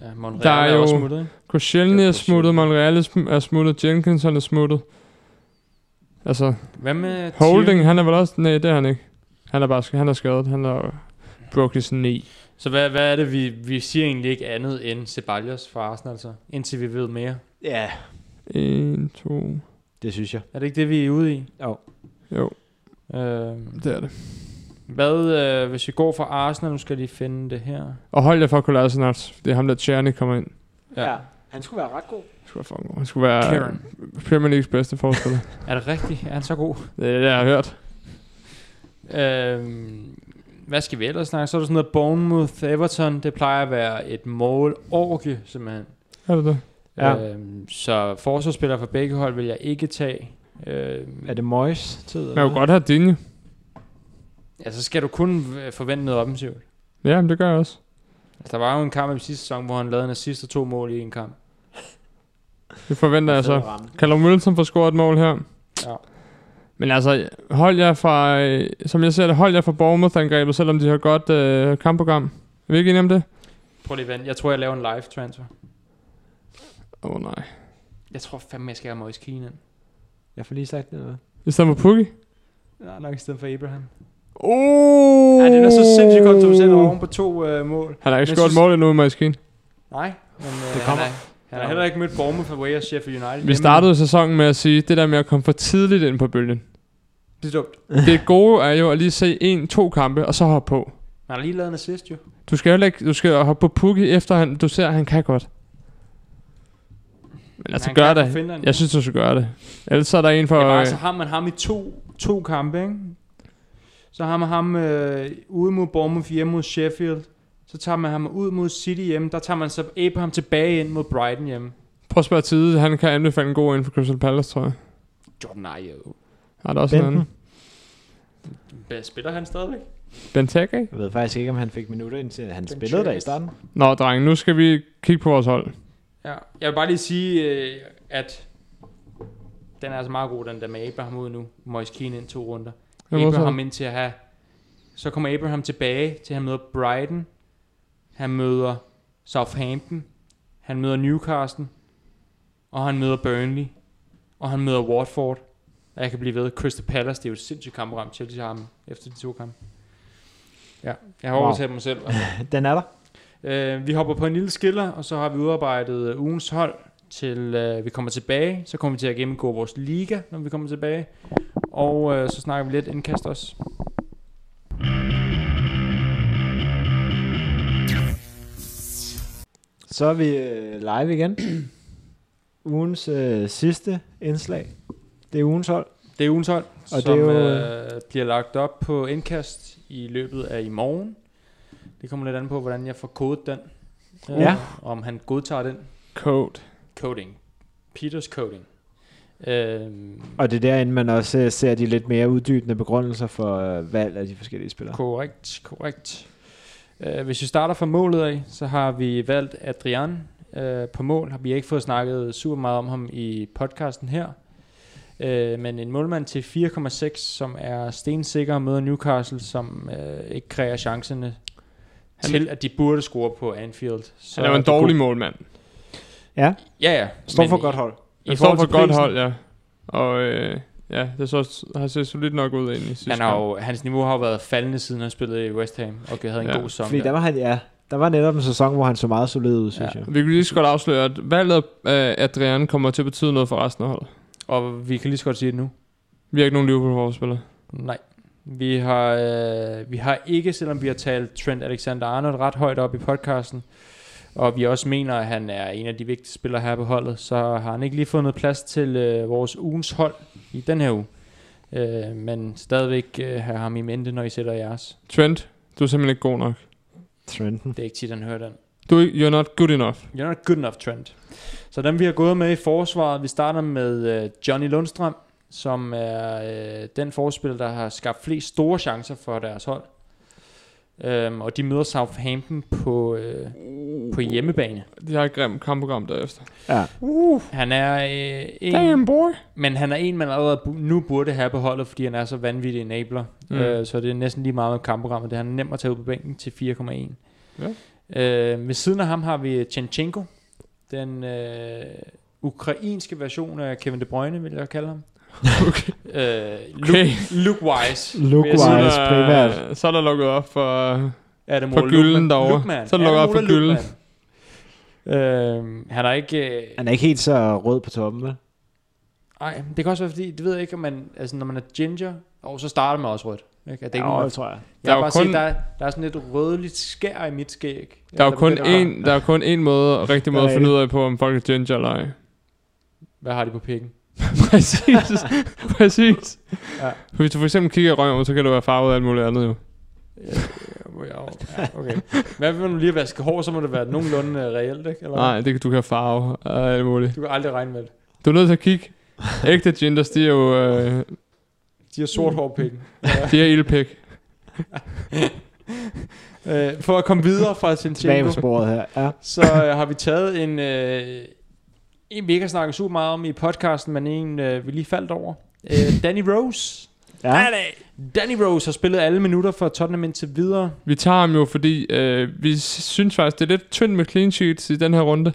Speaker 1: Ja, Monreal
Speaker 3: Der
Speaker 1: der
Speaker 3: er
Speaker 1: er, er
Speaker 3: jo-
Speaker 1: også smuttet, ikke?
Speaker 3: Koscielny
Speaker 5: Ja,
Speaker 3: er smuttet, Monreal er sm- er smuttet, Jenkinson er smuttet. Altså,
Speaker 1: Hvad med
Speaker 3: Holding,
Speaker 1: Thiel?
Speaker 3: han er vel også... Nej, det er han ikke. Han er bare sk- han er skadet. Han er broke his knee.
Speaker 1: Så hvad, hvad er det, vi, vi siger egentlig ikke andet end Ceballos fra Arsenal, altså? Indtil vi ved mere.
Speaker 5: Ja,
Speaker 3: 1, 2...
Speaker 5: det synes jeg.
Speaker 1: Er det ikke det, vi er ude i?
Speaker 5: Jo.
Speaker 3: Jo,
Speaker 1: Øh,
Speaker 3: det er det.
Speaker 1: hvad, øh, hvis vi går fra Arsenal, nu skal de finde det her.
Speaker 3: Og hold jer for Kolasinac. Det er ham, der Tjerni kommer ind.
Speaker 1: Ja. ja.
Speaker 5: Han skulle være ret god.
Speaker 3: Han skulle være, fucking god. han skulle være
Speaker 1: Kieran.
Speaker 3: Premier Leagues bedste [laughs] forspiller.
Speaker 1: Er det rigtigt? Er han så god?
Speaker 3: det er det, jeg har hørt.
Speaker 1: Øh, hvad skal vi ellers snakke? Så er der sådan noget Bournemouth, Everton. Det plejer at være et mål orke, simpelthen.
Speaker 3: Er det det?
Speaker 5: Ja.
Speaker 1: Øhm, så forsvarsspillere fra begge hold vil jeg ikke tage. Øhm,
Speaker 5: Er det Moyes tid?
Speaker 3: Man kunne godt have Dinje.
Speaker 1: Ja, så skal du kun øh, forvente noget offensivt.
Speaker 3: Ja, men det gør jeg også.
Speaker 1: Altså, der var jo en kamp i sidste sæson, hvor han lavede en assist og to mål i en kamp.
Speaker 3: Det forventer jeg så.
Speaker 5: ramme.
Speaker 3: Callum Wilson får scoret et mål her.
Speaker 1: Ja.
Speaker 3: Men altså, hold jer fra, øh, som jeg ser det, hold jer fra Bournemouth-angrebet, selvom de har godt øh, kampprogram. Er vi ikke enige om det?
Speaker 1: Prøv lige at vente. Jeg tror, jeg laver en live transfer.
Speaker 3: Åh oh, nej.
Speaker 1: Jeg tror fandme, jeg skal have Moise Keane ind.
Speaker 5: Jeg får lige sagt det noget.
Speaker 3: I stedet for Pukki?
Speaker 1: Ja, nok i stedet for Abraham. Ja,
Speaker 3: Oh!
Speaker 1: det er da så sindssygt kontroversielt oven på to øh, mål.
Speaker 3: Han har ikke
Speaker 1: Men
Speaker 3: scoret
Speaker 1: så-
Speaker 3: mål endnu, Maskine.
Speaker 1: Nej, men øh,
Speaker 5: Det kommer.
Speaker 1: han, er, han har heller ikke mødt Bournemouth away og Sheffield United.
Speaker 3: Vi
Speaker 1: hjemme.
Speaker 3: startede sæsonen med at sige, det der med at komme for tidligt ind på bølgen.
Speaker 1: Det er dumt.
Speaker 3: Det gode er jo at lige se en, to kampe, og så hoppe på.
Speaker 1: Han har lige lavet en assist, jo.
Speaker 3: Du skal heller ikke, du skal hoppe på Pukki efter han, du ser, at han kan godt. Men altså,
Speaker 1: han
Speaker 3: gør
Speaker 1: kan
Speaker 3: det.
Speaker 1: for Finland.
Speaker 3: Jeg synes, du skal gøre det. Ellers så er der en for...
Speaker 1: Ja, bare,
Speaker 3: øh,
Speaker 1: så har man ham i to, to kampe, ikke? Så har man ham øh, ude mod Bournemouth, hjemme mod Sheffield. Så tager man ham ud mod City hjemme. Der tager man så Abraham tilbage ind mod Brighton hjemme.
Speaker 3: Prøv at spørge tide. Han kan anbefale en god inden for Crystal Palace, tror jeg.
Speaker 1: Jordan Ayew.
Speaker 3: Har der også en
Speaker 5: Benten.
Speaker 3: anden?
Speaker 1: Hvad Spiller han stadigvæk?
Speaker 3: Benteke?
Speaker 5: Jeg ved faktisk ikke, om han fik minutter indtil han
Speaker 1: Den
Speaker 5: spillede der i
Speaker 1: Chase.
Speaker 5: starten.
Speaker 3: Nå, dreng, nu skal vi kigge på vores hold.
Speaker 1: Ja. Jeg vil bare lige sige, øh, at den er altså meget god, den der med Abraham ud nu. Moise Keane ind to runder.
Speaker 3: Jeg må også
Speaker 1: Abraham
Speaker 3: have-
Speaker 1: ind til at have... Så kommer Abraham tilbage til, at han møder Brighton. Han møder Southampton. Han møder Newcastle. Og han møder Burnley. Og han møder Watford. Og jeg kan blive ved. Crystal Palace, det er jo et sindssygt kampprogram. Chelsea har ham efter de to kampe. Ja, jeg har
Speaker 5: Wow.
Speaker 1: overtaget mig selv. Altså.
Speaker 5: Den er der.
Speaker 1: Øh, vi hopper på en lille skiller, og så har vi udarbejdet øh, ugens hold, til øh, vi kommer tilbage. Så kommer vi til at gennemgå vores liga, når vi kommer tilbage. Og øh, så snakker vi lidt indkast også.
Speaker 5: Så er vi øh, live [clears throat] igen. Ugens øh, sidste indslag. Det er ugens hold.
Speaker 1: Det er ugens hold, og
Speaker 5: det
Speaker 1: som det
Speaker 5: er
Speaker 1: er jo... øh, bliver lagt op på indkast i løbet af i morgen. Det kommer lidt an på, hvordan jeg får kodet den. Øh,
Speaker 5: Ja.
Speaker 1: og Om han godtager den.
Speaker 3: Code.
Speaker 1: Coding. Peters coding. Øh,
Speaker 5: Og det er derinde, man også øh, ser de lidt mere uddybende begrundelser for øh, valg af de forskellige spillere.
Speaker 1: Korrekt, korrekt. Uh, hvis vi starter fra målet af, så har vi valgt Adrian uh, på mål. Vi har ikke fået snakket super meget om ham i podcasten her. Uh, men en målmand til 4,6, som er stensikker og møder Newcastle, som uh, ikke kræver chancerne
Speaker 3: Han-
Speaker 1: han, til, at de burde score på Anfield. Så
Speaker 3: Han er jo en
Speaker 1: det
Speaker 3: dårlig målmand.
Speaker 1: Ja, ja.
Speaker 5: Står
Speaker 1: men
Speaker 5: for
Speaker 1: i-
Speaker 5: godt hold.
Speaker 1: i
Speaker 3: Han står
Speaker 1: forhold
Speaker 3: for
Speaker 1: til
Speaker 3: godt
Speaker 1: prisen-
Speaker 3: hold, ja. Og øh, ja, det så, har set solidt nok ud egentlig sidste
Speaker 1: Han har
Speaker 3: kamp.
Speaker 1: jo, hans niveau har jo været faldende, siden han spillede i West Ham, og havde en
Speaker 3: Ja,
Speaker 1: god sæson.
Speaker 5: Fordi
Speaker 1: der.
Speaker 5: der var, han, ja, der var netop en sæson, hvor han så meget solid ud, synes
Speaker 1: Ja.
Speaker 5: jeg.
Speaker 3: Vi kan lige så godt afsløre, at valget af Adrian kommer til at betyde noget for resten af holdet.
Speaker 1: Og vi kan lige så godt sige det nu.
Speaker 3: Vi har ikke nogen Liverpool-forspillere.
Speaker 1: Nej. Vi har, øh, vi har ikke, selvom vi har talt Trent Alexander-Arnold ret højt op i podcasten, og vi også mener, at han er en af de vigtigste spillere her på holdet, så har han ikke lige fået noget plads til øh, vores ugens hold i den her uge. Øh, men stadigvæk øh, have ham i mente, når I sætter jeres.
Speaker 3: Trent, du er simpelthen ikke god nok.
Speaker 5: Trenden.
Speaker 1: Det er ikke tit, han hører den.
Speaker 3: Du, er ikke- you're not good enough.
Speaker 1: You're not good enough, Trent. Så dem, vi har gået med i forsvaret, vi starter med øh, Johnny Lundstrøm, som er øh, den forspiller, der har skabt flest store chancer for deres hold. Øhm, og de møder Southampton på, øh, på hjemmebane.
Speaker 3: De har et grimt kampprogram derefter.
Speaker 5: Ja.
Speaker 1: Han er øh, en,
Speaker 3: Damn, boy.
Speaker 1: men han er en, man allerede bu- nu burde have på holdet, fordi han er så vanvittig enabler.
Speaker 3: Mm.
Speaker 1: Mm. Øh, så det er næsten lige meget med kampprogrammet. Det er han nemt at tage ud på bænken til 4,1.
Speaker 3: Ja.
Speaker 1: Øh, ved siden af ham har vi Tjenchenko. Den øh, ukrainske version af Kevin De Bruyne, vil jeg kalde ham.
Speaker 3: [laughs] Okay.
Speaker 1: Øh,
Speaker 3: Okay.
Speaker 1: look,
Speaker 3: [laughs]
Speaker 1: look-wise.
Speaker 5: Luke
Speaker 1: vil jeg sige.
Speaker 3: Så er
Speaker 5: Wise
Speaker 3: der-
Speaker 5: primært.
Speaker 3: øh, Så er der lukket op for...
Speaker 1: Er det
Speaker 3: For
Speaker 1: Mor
Speaker 3: gylden
Speaker 1: Lookman?
Speaker 3: derovre.
Speaker 1: Lookman.
Speaker 3: Så er det lukket
Speaker 1: Er
Speaker 3: op for
Speaker 1: Mor
Speaker 3: gylden.
Speaker 1: Lookman? Øh, han er ikke... Øh,
Speaker 5: Han er ikke helt så rød på toppen, vel?
Speaker 1: ej, det kan også være, fordi det ved jeg ikke, om man, altså, når man er ginger, og så starter man også rødt. Ikke? Er det ikke,
Speaker 5: Jo,
Speaker 1: man-
Speaker 5: tror jeg.
Speaker 1: Jeg har
Speaker 3: Der er
Speaker 1: bare
Speaker 3: jo
Speaker 1: kun...
Speaker 3: kun-
Speaker 1: set, der er, der er sådan et rødligt skær i mit skæg.
Speaker 3: Der er jo kun
Speaker 1: begynder-
Speaker 3: én, der er kun én måde, rigtig måde at
Speaker 5: Der er
Speaker 3: finde ud af på, om folk er ginger eller ej.
Speaker 1: Hvad har de på pikken?
Speaker 3: [laughs] Præcis. Præcis.
Speaker 1: Ja.
Speaker 3: Ja. Hvis du for eksempel kigger i røven, så kan du være farvet af alt muligt andet jo.
Speaker 1: Ja, okay. Hvad vil du lige vaske hår, så må det være nogenlunde øh, reelt, ikke? Eller?
Speaker 3: Nej, det, kan- du kan være farve af alt muligt.
Speaker 1: Du kan aldrig regne med det.
Speaker 3: Du er nødt til at kigge. Ægte gingers, de er jo øh,
Speaker 1: De har sort hår på pikken.
Speaker 3: de er ildpæk.
Speaker 1: Øh, for at komme videre fra
Speaker 5: Tilbage på
Speaker 1: Sinchenko,
Speaker 5: sporet her. Ja.
Speaker 1: så øh, har vi taget en, øh, en, vi ikke har snakket super meget om i podcasten, men en, øh, vi lige faldt over. Øh, Danny Rose.
Speaker 5: ja.
Speaker 1: Danny Rose har spillet alle minutter for Tottenham indtil videre.
Speaker 3: Vi tager ham jo, fordi øh, vi synes faktisk, det er lidt tyndt med clean sheets i den her runde.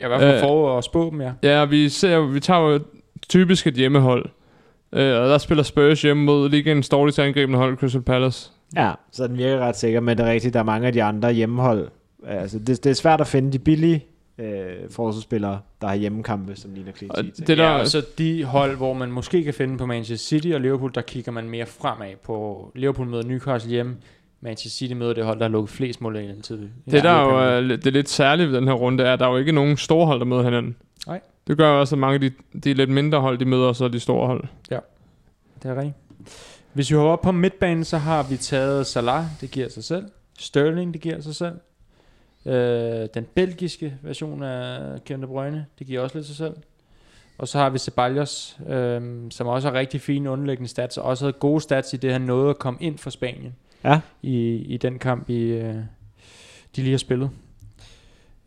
Speaker 1: Jeg i hvert fald
Speaker 3: Øh.
Speaker 1: for at spå dem, ja.
Speaker 3: Ja, vi, ser, vi tager jo typisk et hjemmehold. Øh, og der spiller Spurs hjemme mod ligegens dårligst angribende hold, Crystal Palace.
Speaker 5: ja, så den virker ret sikker, men det er rigtigt, der er mange af de andre hjemmehold. Altså, det, det er svært at finde de billige øh, forsvarsspillere, der har hjemmekampe, som ligner clean
Speaker 3: Og
Speaker 5: sheets.
Speaker 3: det
Speaker 1: Det
Speaker 3: der,
Speaker 1: der, ja, og så de hold, hvor man måske kan finde på Manchester City og Liverpool, der kigger man mere fremad på. Liverpool møder Newcastle hjemme. Manchester City møder det hold, der har lukket flest mål i den tid.
Speaker 3: det, der er
Speaker 1: øh,
Speaker 3: jo er, det er lidt særligt ved den her runde, er, at der er jo ikke nogen store hold, der møder hinanden.
Speaker 1: Nej.
Speaker 3: Det gør jo også, at mange af de, de lidt mindre hold, de møder, så de store hold.
Speaker 1: Det er rigtigt. Hvis vi hopper op på midtbanen, så har vi taget Salah, det giver sig selv. Sterling, det giver sig selv. Øh, den belgiske version af Kevin De Bruyne, det giver også lidt sig selv. Og så har vi Ceballos, øhm, som også har rigtig fine underliggende stats, og også havde gode stats i det, han nåede at komme ind for Spanien
Speaker 5: Ja.
Speaker 1: i, i den kamp, i, øh, de lige har spillet.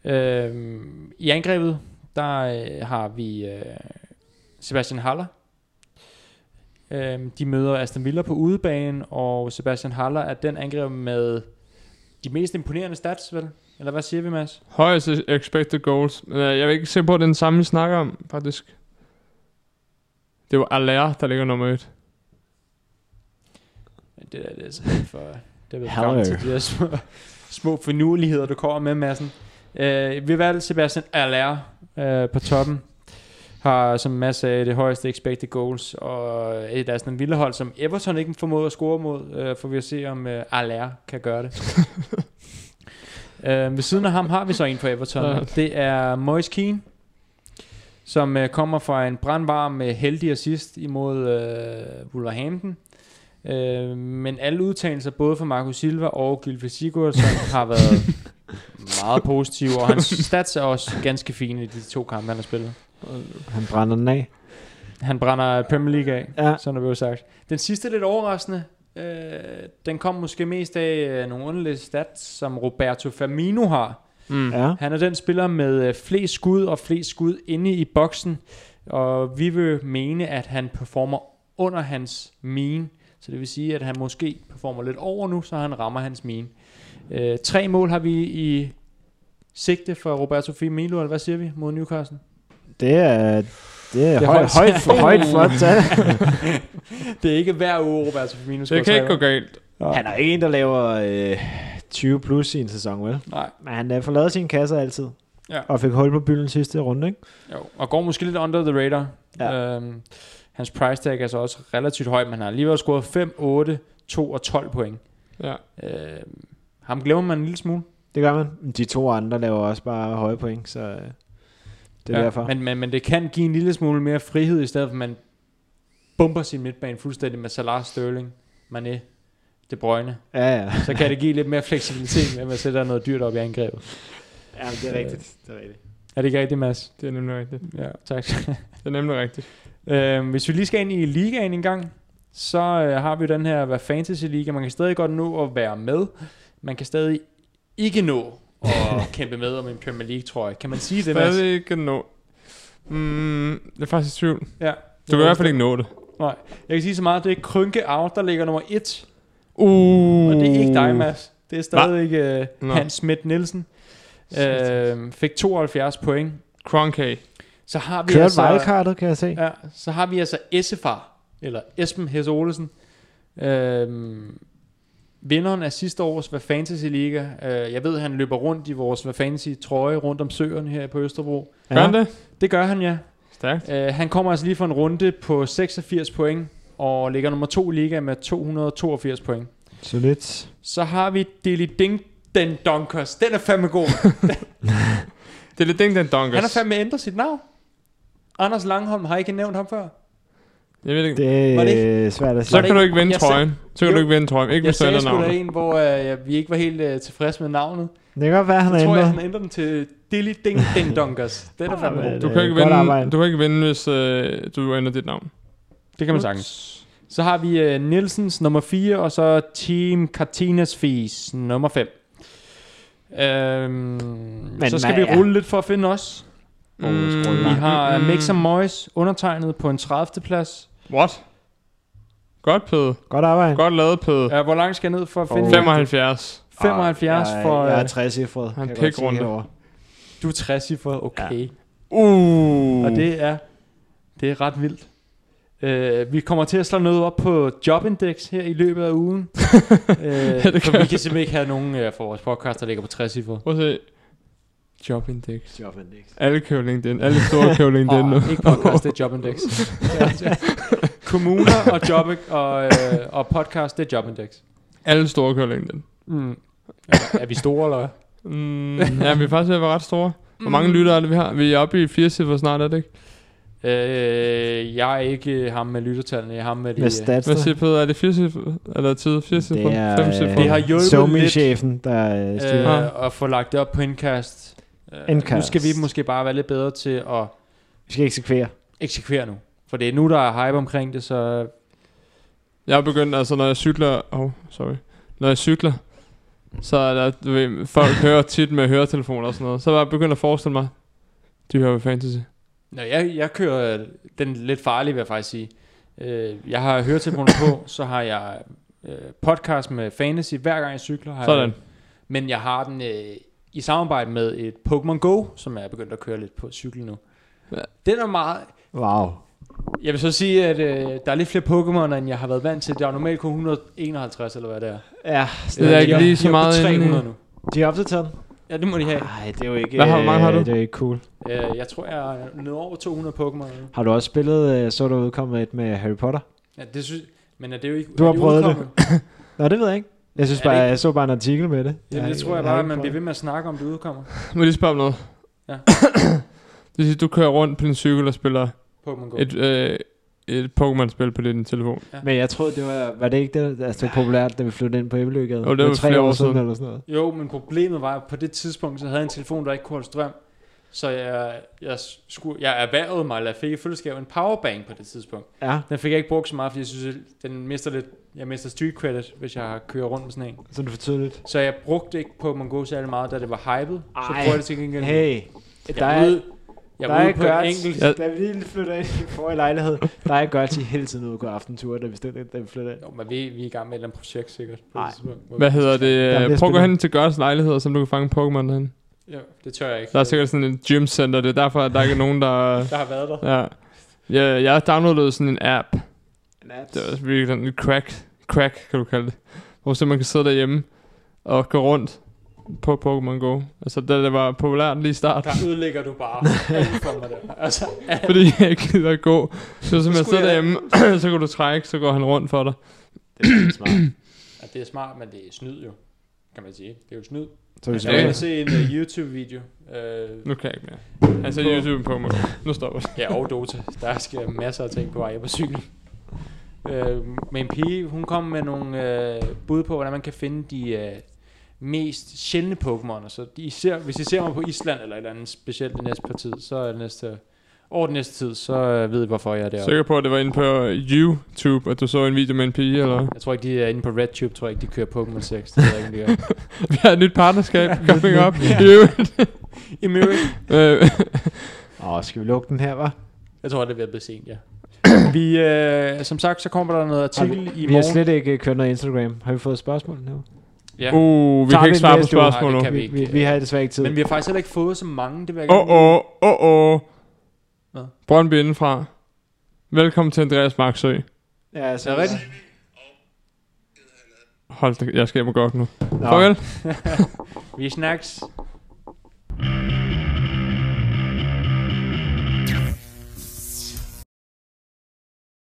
Speaker 1: Øhm, I angrebet, der øh, har vi øh, Sebastian Haller. Øhm, de møder Aston Villa på udebane, og Sebastian Haller er den angriber med de mest imponerende stats, vel? Eller hvad siger vi, Mads?
Speaker 3: Højest expected goals. Men øh, jeg vil ikke se på, at det er den samme, vi snakker om, faktisk. Det var Allaire, der ligger nummer et.
Speaker 1: Men Det der, det er [laughs] simpelthen for... Det er
Speaker 5: Hello.
Speaker 1: Hello. til de der små, små finurligheder, du kommer med, Madsen. Øh, vi valgte Sebastian Allaire øh, på toppen. Har, som Mads sagde, det højeste expected goals. Og øh, der er sådan en vilde hold, som Everton ikke formåede at score mod. Øh, for vi at se, om øh, Allaire kan gøre det. øh, ved siden af ham har vi så en for Everton.
Speaker 3: Ja.
Speaker 1: Ja. Det er Moise Keane som øh, kommer fra en brandvarm øh, heldig assist imod øh, Wolverhampton. Øh, men alle udtalelser, både fra Marco Silva og Gylfe Sigurdsson, har været meget positive, og hans stats er også ganske fine i de to kampe, han har spillet.
Speaker 5: Han brænder den af.
Speaker 1: Han brænder Premier League af,
Speaker 5: Ja.
Speaker 1: ja. som der blev sagt. Den sidste lidt overraskende, øh, den kom måske mest af øh, nogle underlige stats, som Roberto Firmino har.
Speaker 3: Mm.
Speaker 5: Ja.
Speaker 1: Han er den spiller med øh, flest skud og flest skud inde i boksen, og vi vil mene, at han performer under hans mean, så det vil sige, at han måske performer lidt over nu, så han rammer hans mean. Øh, tre mål har vi i sigte for Roberto Firmino, eller hvad siger vi, mod Newcastle?
Speaker 5: Det er, det er,
Speaker 1: Det er
Speaker 5: højt,
Speaker 1: højt.
Speaker 5: højt, for, [laughs] højt flot tal.
Speaker 1: Det er ikke hver uge, Roberto Firmino
Speaker 3: Det kan ikke gå galt.
Speaker 5: Han er ikke en, der laver øh, 20 plus i en sæson, vel?
Speaker 1: Nej,
Speaker 5: Men han øh, får lavet sine kasser altid.
Speaker 1: Ja.
Speaker 5: Og fik hul på bylden sidste runde, ikke?
Speaker 1: jo. og går måske lidt under the radar.
Speaker 5: Ja.
Speaker 1: Ja. Øhm, hans price tag er så også relativt høj, men han har alligevel scoret 5, 8, 2 og 12 point.
Speaker 3: Ja.
Speaker 1: Øh, ham glemmer man en lille smule.
Speaker 5: Det gør man. Men De to andre laver også bare høje point, så øh, det er ja,
Speaker 1: ja,
Speaker 5: derfor. Men,
Speaker 1: Men, men, men det kan give en lille smule mere frihed, i stedet for at man bomber sin midtbane fuldstændig med Salah, Sterling, Mané, De Bruyne.
Speaker 5: ja, ja.
Speaker 1: Så kan det give lidt mere fleksibilitet med, at man sætter noget dyrt op i angrebet.
Speaker 5: ja det
Speaker 1: er
Speaker 5: rigtigt. Det er rigtigt.
Speaker 1: Er det ikke rigtigt, Mads?
Speaker 3: Det er nemlig rigtigt.
Speaker 1: Ja, tak. [laughs]
Speaker 3: Det er nemlig rigtigt.
Speaker 1: øhm, hvis vi lige skal ind i ligaen en gang, så øh, har vi jo den her hvad fantasy liga. Man kan stadig godt nå at være med. Man kan stadig ikke nå at
Speaker 5: [laughs]
Speaker 1: kæmpe med om en Premier League trøje. Kan man sige det, Mads?
Speaker 3: Stadig ikke nå. Mm, det er faktisk i tvivl.
Speaker 1: Ja.
Speaker 3: Du kan i hvert fald ikke nå det.
Speaker 1: Jeg kan sige så meget, det er Krynke Out, der ligger nummer 1
Speaker 3: Uh.
Speaker 1: Og det er ikke dig, Mads. Det er stadigvæk øh,
Speaker 3: Nå.
Speaker 1: Hans Schmidt Nielsen. Øh, fik 72 point.
Speaker 3: Cronkey.
Speaker 1: Så har vi
Speaker 5: Kørt
Speaker 1: altså...
Speaker 5: wildcardet, kan jeg se.
Speaker 1: Ja, så har vi altså Essefar, eller Esben Hesse Olesen. Øhm, vinderen af sidste års Hvad Fantasy Liga. Øh, jeg ved, han løber rundt i vores Hvad Fantasy trøje rundt om søerne her på Østerbro.
Speaker 3: Gør han det?
Speaker 1: Det gør han, ja.
Speaker 3: Stærkt.
Speaker 1: Øh, han kommer altså lige for en runde på 86 point, og ligger nummer to i ligaen med 282 point.
Speaker 5: Så lidt.
Speaker 1: Så har vi Dilly Ding den Donkers. Den er fandme god.
Speaker 3: Det er lidt ding, den donkers.
Speaker 1: Han har fandme ændret sit navn. Anders Langholm har I ikke nævnt ham før.
Speaker 3: Jeg ved ikke.
Speaker 5: Det
Speaker 1: Var det
Speaker 5: er øh, svært at
Speaker 3: Så
Speaker 5: sige.
Speaker 1: det
Speaker 3: kan du
Speaker 1: ikke-
Speaker 3: ikke vinde
Speaker 1: jeg sagde-
Speaker 3: trøjen. Så kan
Speaker 1: Jo.
Speaker 3: du ikke vinde trøjen. Ikke
Speaker 1: Jeg
Speaker 3: hvis du
Speaker 1: sagde
Speaker 3: ændrer
Speaker 1: sgu da
Speaker 3: navnet.
Speaker 1: en, hvor øh, jeg, vi ikke var helt øh, tilfredse med navnet.
Speaker 5: Det kan godt være, han
Speaker 1: Jeg
Speaker 5: er
Speaker 1: tror, jeg,
Speaker 5: ændret.
Speaker 1: han ændrer den til Dilly Ding Den Donkers. Den er fandme
Speaker 5: Ah,
Speaker 1: god.
Speaker 3: Du
Speaker 5: Øh,
Speaker 3: kan, ikke
Speaker 5: godt
Speaker 3: vinde,
Speaker 5: arbejde.
Speaker 3: du kan ikke vinde, hvis øh, du ændrer dit navn.
Speaker 1: Det kan man sagtens. Så har vi øh, Nielsens nummer 4, og så Team Cartinas Fis nummer 5. Øhm, Men, så skal
Speaker 5: nej,
Speaker 1: vi
Speaker 5: ja.
Speaker 1: rulle lidt for at finde os.
Speaker 5: Mm.
Speaker 1: Vi har mm. Mix Moyes undertegnet på en 30. plads.
Speaker 3: øh, What? Godt, Pede.
Speaker 5: Godt arbejde.
Speaker 3: Godt lavet, Pede.
Speaker 1: Ja, hvor langt skal jeg ned for at finde?
Speaker 5: Åh.
Speaker 3: 75.
Speaker 1: 75
Speaker 5: jeg, er-
Speaker 1: for...
Speaker 5: Jeg
Speaker 1: Jeg
Speaker 5: er 60 cifret.
Speaker 3: øh, Han pikrunde.
Speaker 1: du er 60 for, okay. Ja.
Speaker 3: Uh.
Speaker 1: Og det er, det er ret vildt. Uh, vi kommer til at slå noget op på Jobindex her i løbet af ugen. [laughs] uh,
Speaker 3: det
Speaker 1: for
Speaker 3: gør
Speaker 1: vi
Speaker 3: vi.
Speaker 1: kan simpelthen ikke have nogen uh, for vores podcast, der ligger på 60 cifre.
Speaker 3: Prøv at se. Jobindex.
Speaker 5: Jobindex.
Speaker 3: Alle køber LinkedIn. Alle store køber LinkedIn nu.
Speaker 1: Oh, ikke [laughs] podcast, det er Jobindex. Kommuner og, job, og, øh, og podcast, det er Jobindex.
Speaker 3: Alle store køber LinkedIn.
Speaker 1: Mm. Er, er vi store, eller hvad?
Speaker 3: Mm, ja, vi er faktisk ved at være ret store. Hvor mange lyttere er det, vi har? Vi er oppe i 80 cifre snart, er det ikke?
Speaker 1: Øh, jeg er ikke øh, ham med lyttertallene, jeg er ham med de...
Speaker 5: Med
Speaker 1: øh,
Speaker 5: stats.
Speaker 3: Hvad siger Peder? Er det 4 cifre? Eller 10? 4 cifre?
Speaker 5: Det er,
Speaker 3: 5
Speaker 1: Det
Speaker 3: cifre?
Speaker 1: har hjulpet lidt.
Speaker 5: chefen der øh, styrer.
Speaker 3: Ja.
Speaker 1: øh, og få lagt det op på indkast. Øh,
Speaker 5: Indkast.
Speaker 1: Nu skal vi måske bare være lidt bedre til at
Speaker 5: Vi skal eksekvere.
Speaker 1: eksekvere nu. For det er nu, der er hype omkring det, så
Speaker 3: Jeg er begyndt, altså når jeg cykler, oh, sorry, når jeg cykler, så er der, du ved, folk hører tit med høretelefoner og sådan noget, så var jeg begyndt at forestille mig, de hører med fantasy.
Speaker 1: Nå, jeg, jeg kører øh, den lidt farlige, vil jeg faktisk sige. Øh, jeg har høretelefoner
Speaker 3: [coughs]
Speaker 1: på, så har jeg øh, podcast med fantasy, hver gang jeg cykler. Har
Speaker 3: Sådan.
Speaker 1: Jeg, men jeg har den øh, i samarbejde med et Pokémon Go, som jeg er begyndt at køre lidt på cykel nu.
Speaker 3: Ja.
Speaker 1: Den er meget...
Speaker 5: Wow.
Speaker 1: Jeg vil så sige, at øh, der er lidt flere Pokémon, end jeg har været vant til. Der er normalt kun 151, eller hvad det er.
Speaker 5: Ja,
Speaker 3: Det er
Speaker 1: Øh,
Speaker 3: ikke
Speaker 1: de
Speaker 3: lige
Speaker 1: de
Speaker 3: så
Speaker 1: oppe på
Speaker 3: meget inde i-
Speaker 1: 300 nu.
Speaker 5: de er opdateret.
Speaker 1: Ja, det må de have.
Speaker 5: Nej, det er jo ikke...
Speaker 3: Hvad har- hvor mange har du?
Speaker 5: Det er jo ikke cool.
Speaker 1: Øh, jeg tror, jeg er nået over 200 Pokémon nu.
Speaker 5: Har du også spillet, øh, så er der udkommet et med Harry Potter?
Speaker 1: Ja, det synes... Men er det jo ikke...
Speaker 5: Du har
Speaker 1: er det
Speaker 5: prøvet det.
Speaker 1: udkommet?
Speaker 5: Nå, det ved jeg ikke. Jeg synes
Speaker 1: Er det
Speaker 5: bare,
Speaker 1: ikke-
Speaker 5: jeg så bare en artikel med det.
Speaker 1: Jamen, det tror jeg bare, at man bliver ved med at snakke om, det udkommer.
Speaker 3: Må jeg lige spørge om noget?
Speaker 1: Ja.
Speaker 3: [coughs] det vil sige, du kører rundt på din cykel og spiller
Speaker 1: Pokémon Go.
Speaker 3: et, øh, et Pokémon-spil på din telefon.
Speaker 5: Men jeg troede, det var... Var det ikke det, altså, det var populært, da vi flyttede ind på Æbløgade?
Speaker 3: Jo, det var
Speaker 5: tre
Speaker 3: flere
Speaker 5: år,
Speaker 3: år
Speaker 5: siden
Speaker 3: siden.
Speaker 5: eller sådan noget.
Speaker 1: Jo, men problemet var, at på det tidspunkt, så havde jeg en telefon, der ikke kunne holde strøm. Så jeg, jeg, skulle, jeg erhvervede mig, eller jeg fik i fællesskab en powerbank på det tidspunkt.
Speaker 5: Ja,
Speaker 1: Den fik jeg ikke brugt så meget, fordi jeg synes, at den mister lidt, jeg mister street credit, hvis jeg kører rundt med sådan en.
Speaker 5: så det fortød lidt.
Speaker 1: Så jeg brugte ikke på Mongo særlig meget, da det var hypet. Så
Speaker 5: Ej,
Speaker 1: brugte jeg det til gengæld. nu.
Speaker 5: Hey,
Speaker 1: jeg
Speaker 5: der
Speaker 1: er
Speaker 5: er,
Speaker 1: ude, jeg
Speaker 5: der
Speaker 1: er
Speaker 5: er
Speaker 1: ude på en enkelt.
Speaker 5: Gørts. Da vi lige flytter ind i forrige lejlighed, der er Gørts i hele tiden ude og gå aftenture, da vi, stod, da vi flytter ind.
Speaker 1: Jo, men vi, vi er i gang med et eller andet projekt sikkert. på det
Speaker 5: Nej.
Speaker 1: tidspunkt, hvor vi-
Speaker 3: Hvad hedder det?
Speaker 5: Der bliver
Speaker 3: Prøv at gå
Speaker 5: spillet.
Speaker 3: hen til Gørs lejlighed, som du kan fange Pokémon derhen.
Speaker 1: Jo, det tør jeg ikke.
Speaker 3: Der er sikkert sådan et gymcenter, det er derfor, at der ikke er nogen, der...
Speaker 1: Der har været der.
Speaker 3: Ja. Jeg, jeg downloadede sådan en app.
Speaker 5: En app.
Speaker 3: Det er også virkelig sådan en crack. Crack, kan du kalde det. Hvor så man kan sidde derhjemme og gå rundt på Pokémon Go. Altså, da det var populært lige i starten.
Speaker 1: Der ødelægger du
Speaker 3: [laughs]
Speaker 1: bare alt for mig der. Altså,
Speaker 3: Fordi jeg ikke gider at gå. Så som jeg sidder
Speaker 1: skulle jeg-
Speaker 3: derhjemme, [clears throat] så kan du trække, så går han rundt for dig.
Speaker 5: Det er smart.
Speaker 1: Ja, det er smart, men det er snyd jo, kan man sige. Det er jo snyd.
Speaker 5: Så hvis
Speaker 1: Jeg var
Speaker 3: Ja.
Speaker 1: inde og se en uh, YouTube-video. Uh,
Speaker 3: Nu kan jeg ikke mere. Altså,
Speaker 1: På-
Speaker 3: YouTube på mig. Nu stopper jeg.
Speaker 1: ja, og Dota. Der sker masser af ting på vej på cykel. Uh, men en pige, hun kom med nogle uh, bud på, hvordan man kan finde de uh, mest sjældne Pokémon. Så de ser, hvis I ser mig på Island eller et eller andet specielt det næste par tid, så er det næste, over den næste tid, så uh, ved I, hvorfor jeg er deroppe.
Speaker 3: Sikker på, at det var inde på YouTube, at du så en video med en pige, eller?
Speaker 1: Jeg tror ikke, de er inde på RedTube, tror jeg ikke, de kører Pokémon 6. Det ved jeg ikke, om de gør.
Speaker 5: [laughs]
Speaker 3: [laughs] Vi har et nyt partnerskab coming up. I øvrigt.
Speaker 1: I øvrigt.
Speaker 3: Øh,
Speaker 5: Åh, skal vi lukke den her, var?
Speaker 1: Jeg tror, det er ved at blive sent, ja. [clears throat] vi, øh, som sagt, så kommer der noget artikel i morgen.
Speaker 5: Vi har slet ikke øh, kørt noget Instagram. Har vi fået spørgsmål nu?
Speaker 1: Ja.
Speaker 5: Oh.
Speaker 3: Uh, vi
Speaker 5: Tager
Speaker 3: kan
Speaker 5: vi
Speaker 3: ikke svare på
Speaker 5: næste uge?
Speaker 3: spørgsmål nu.
Speaker 1: Nej, det kan
Speaker 5: Vi, vi, vi har desværre ikke tid.
Speaker 1: Men vi har faktisk heller ikke fået så mange, det vil jeg
Speaker 3: Åh, åh, åh, åh.
Speaker 1: Hvad?
Speaker 3: Brøndby indenfra. Velkommen til Andreas Marksø.
Speaker 5: Ja,
Speaker 1: Er
Speaker 5: så
Speaker 1: det rigtigt?
Speaker 3: Hold da, jeg skal hjem og gå op nu. Farvel.
Speaker 1: Vi snakkes.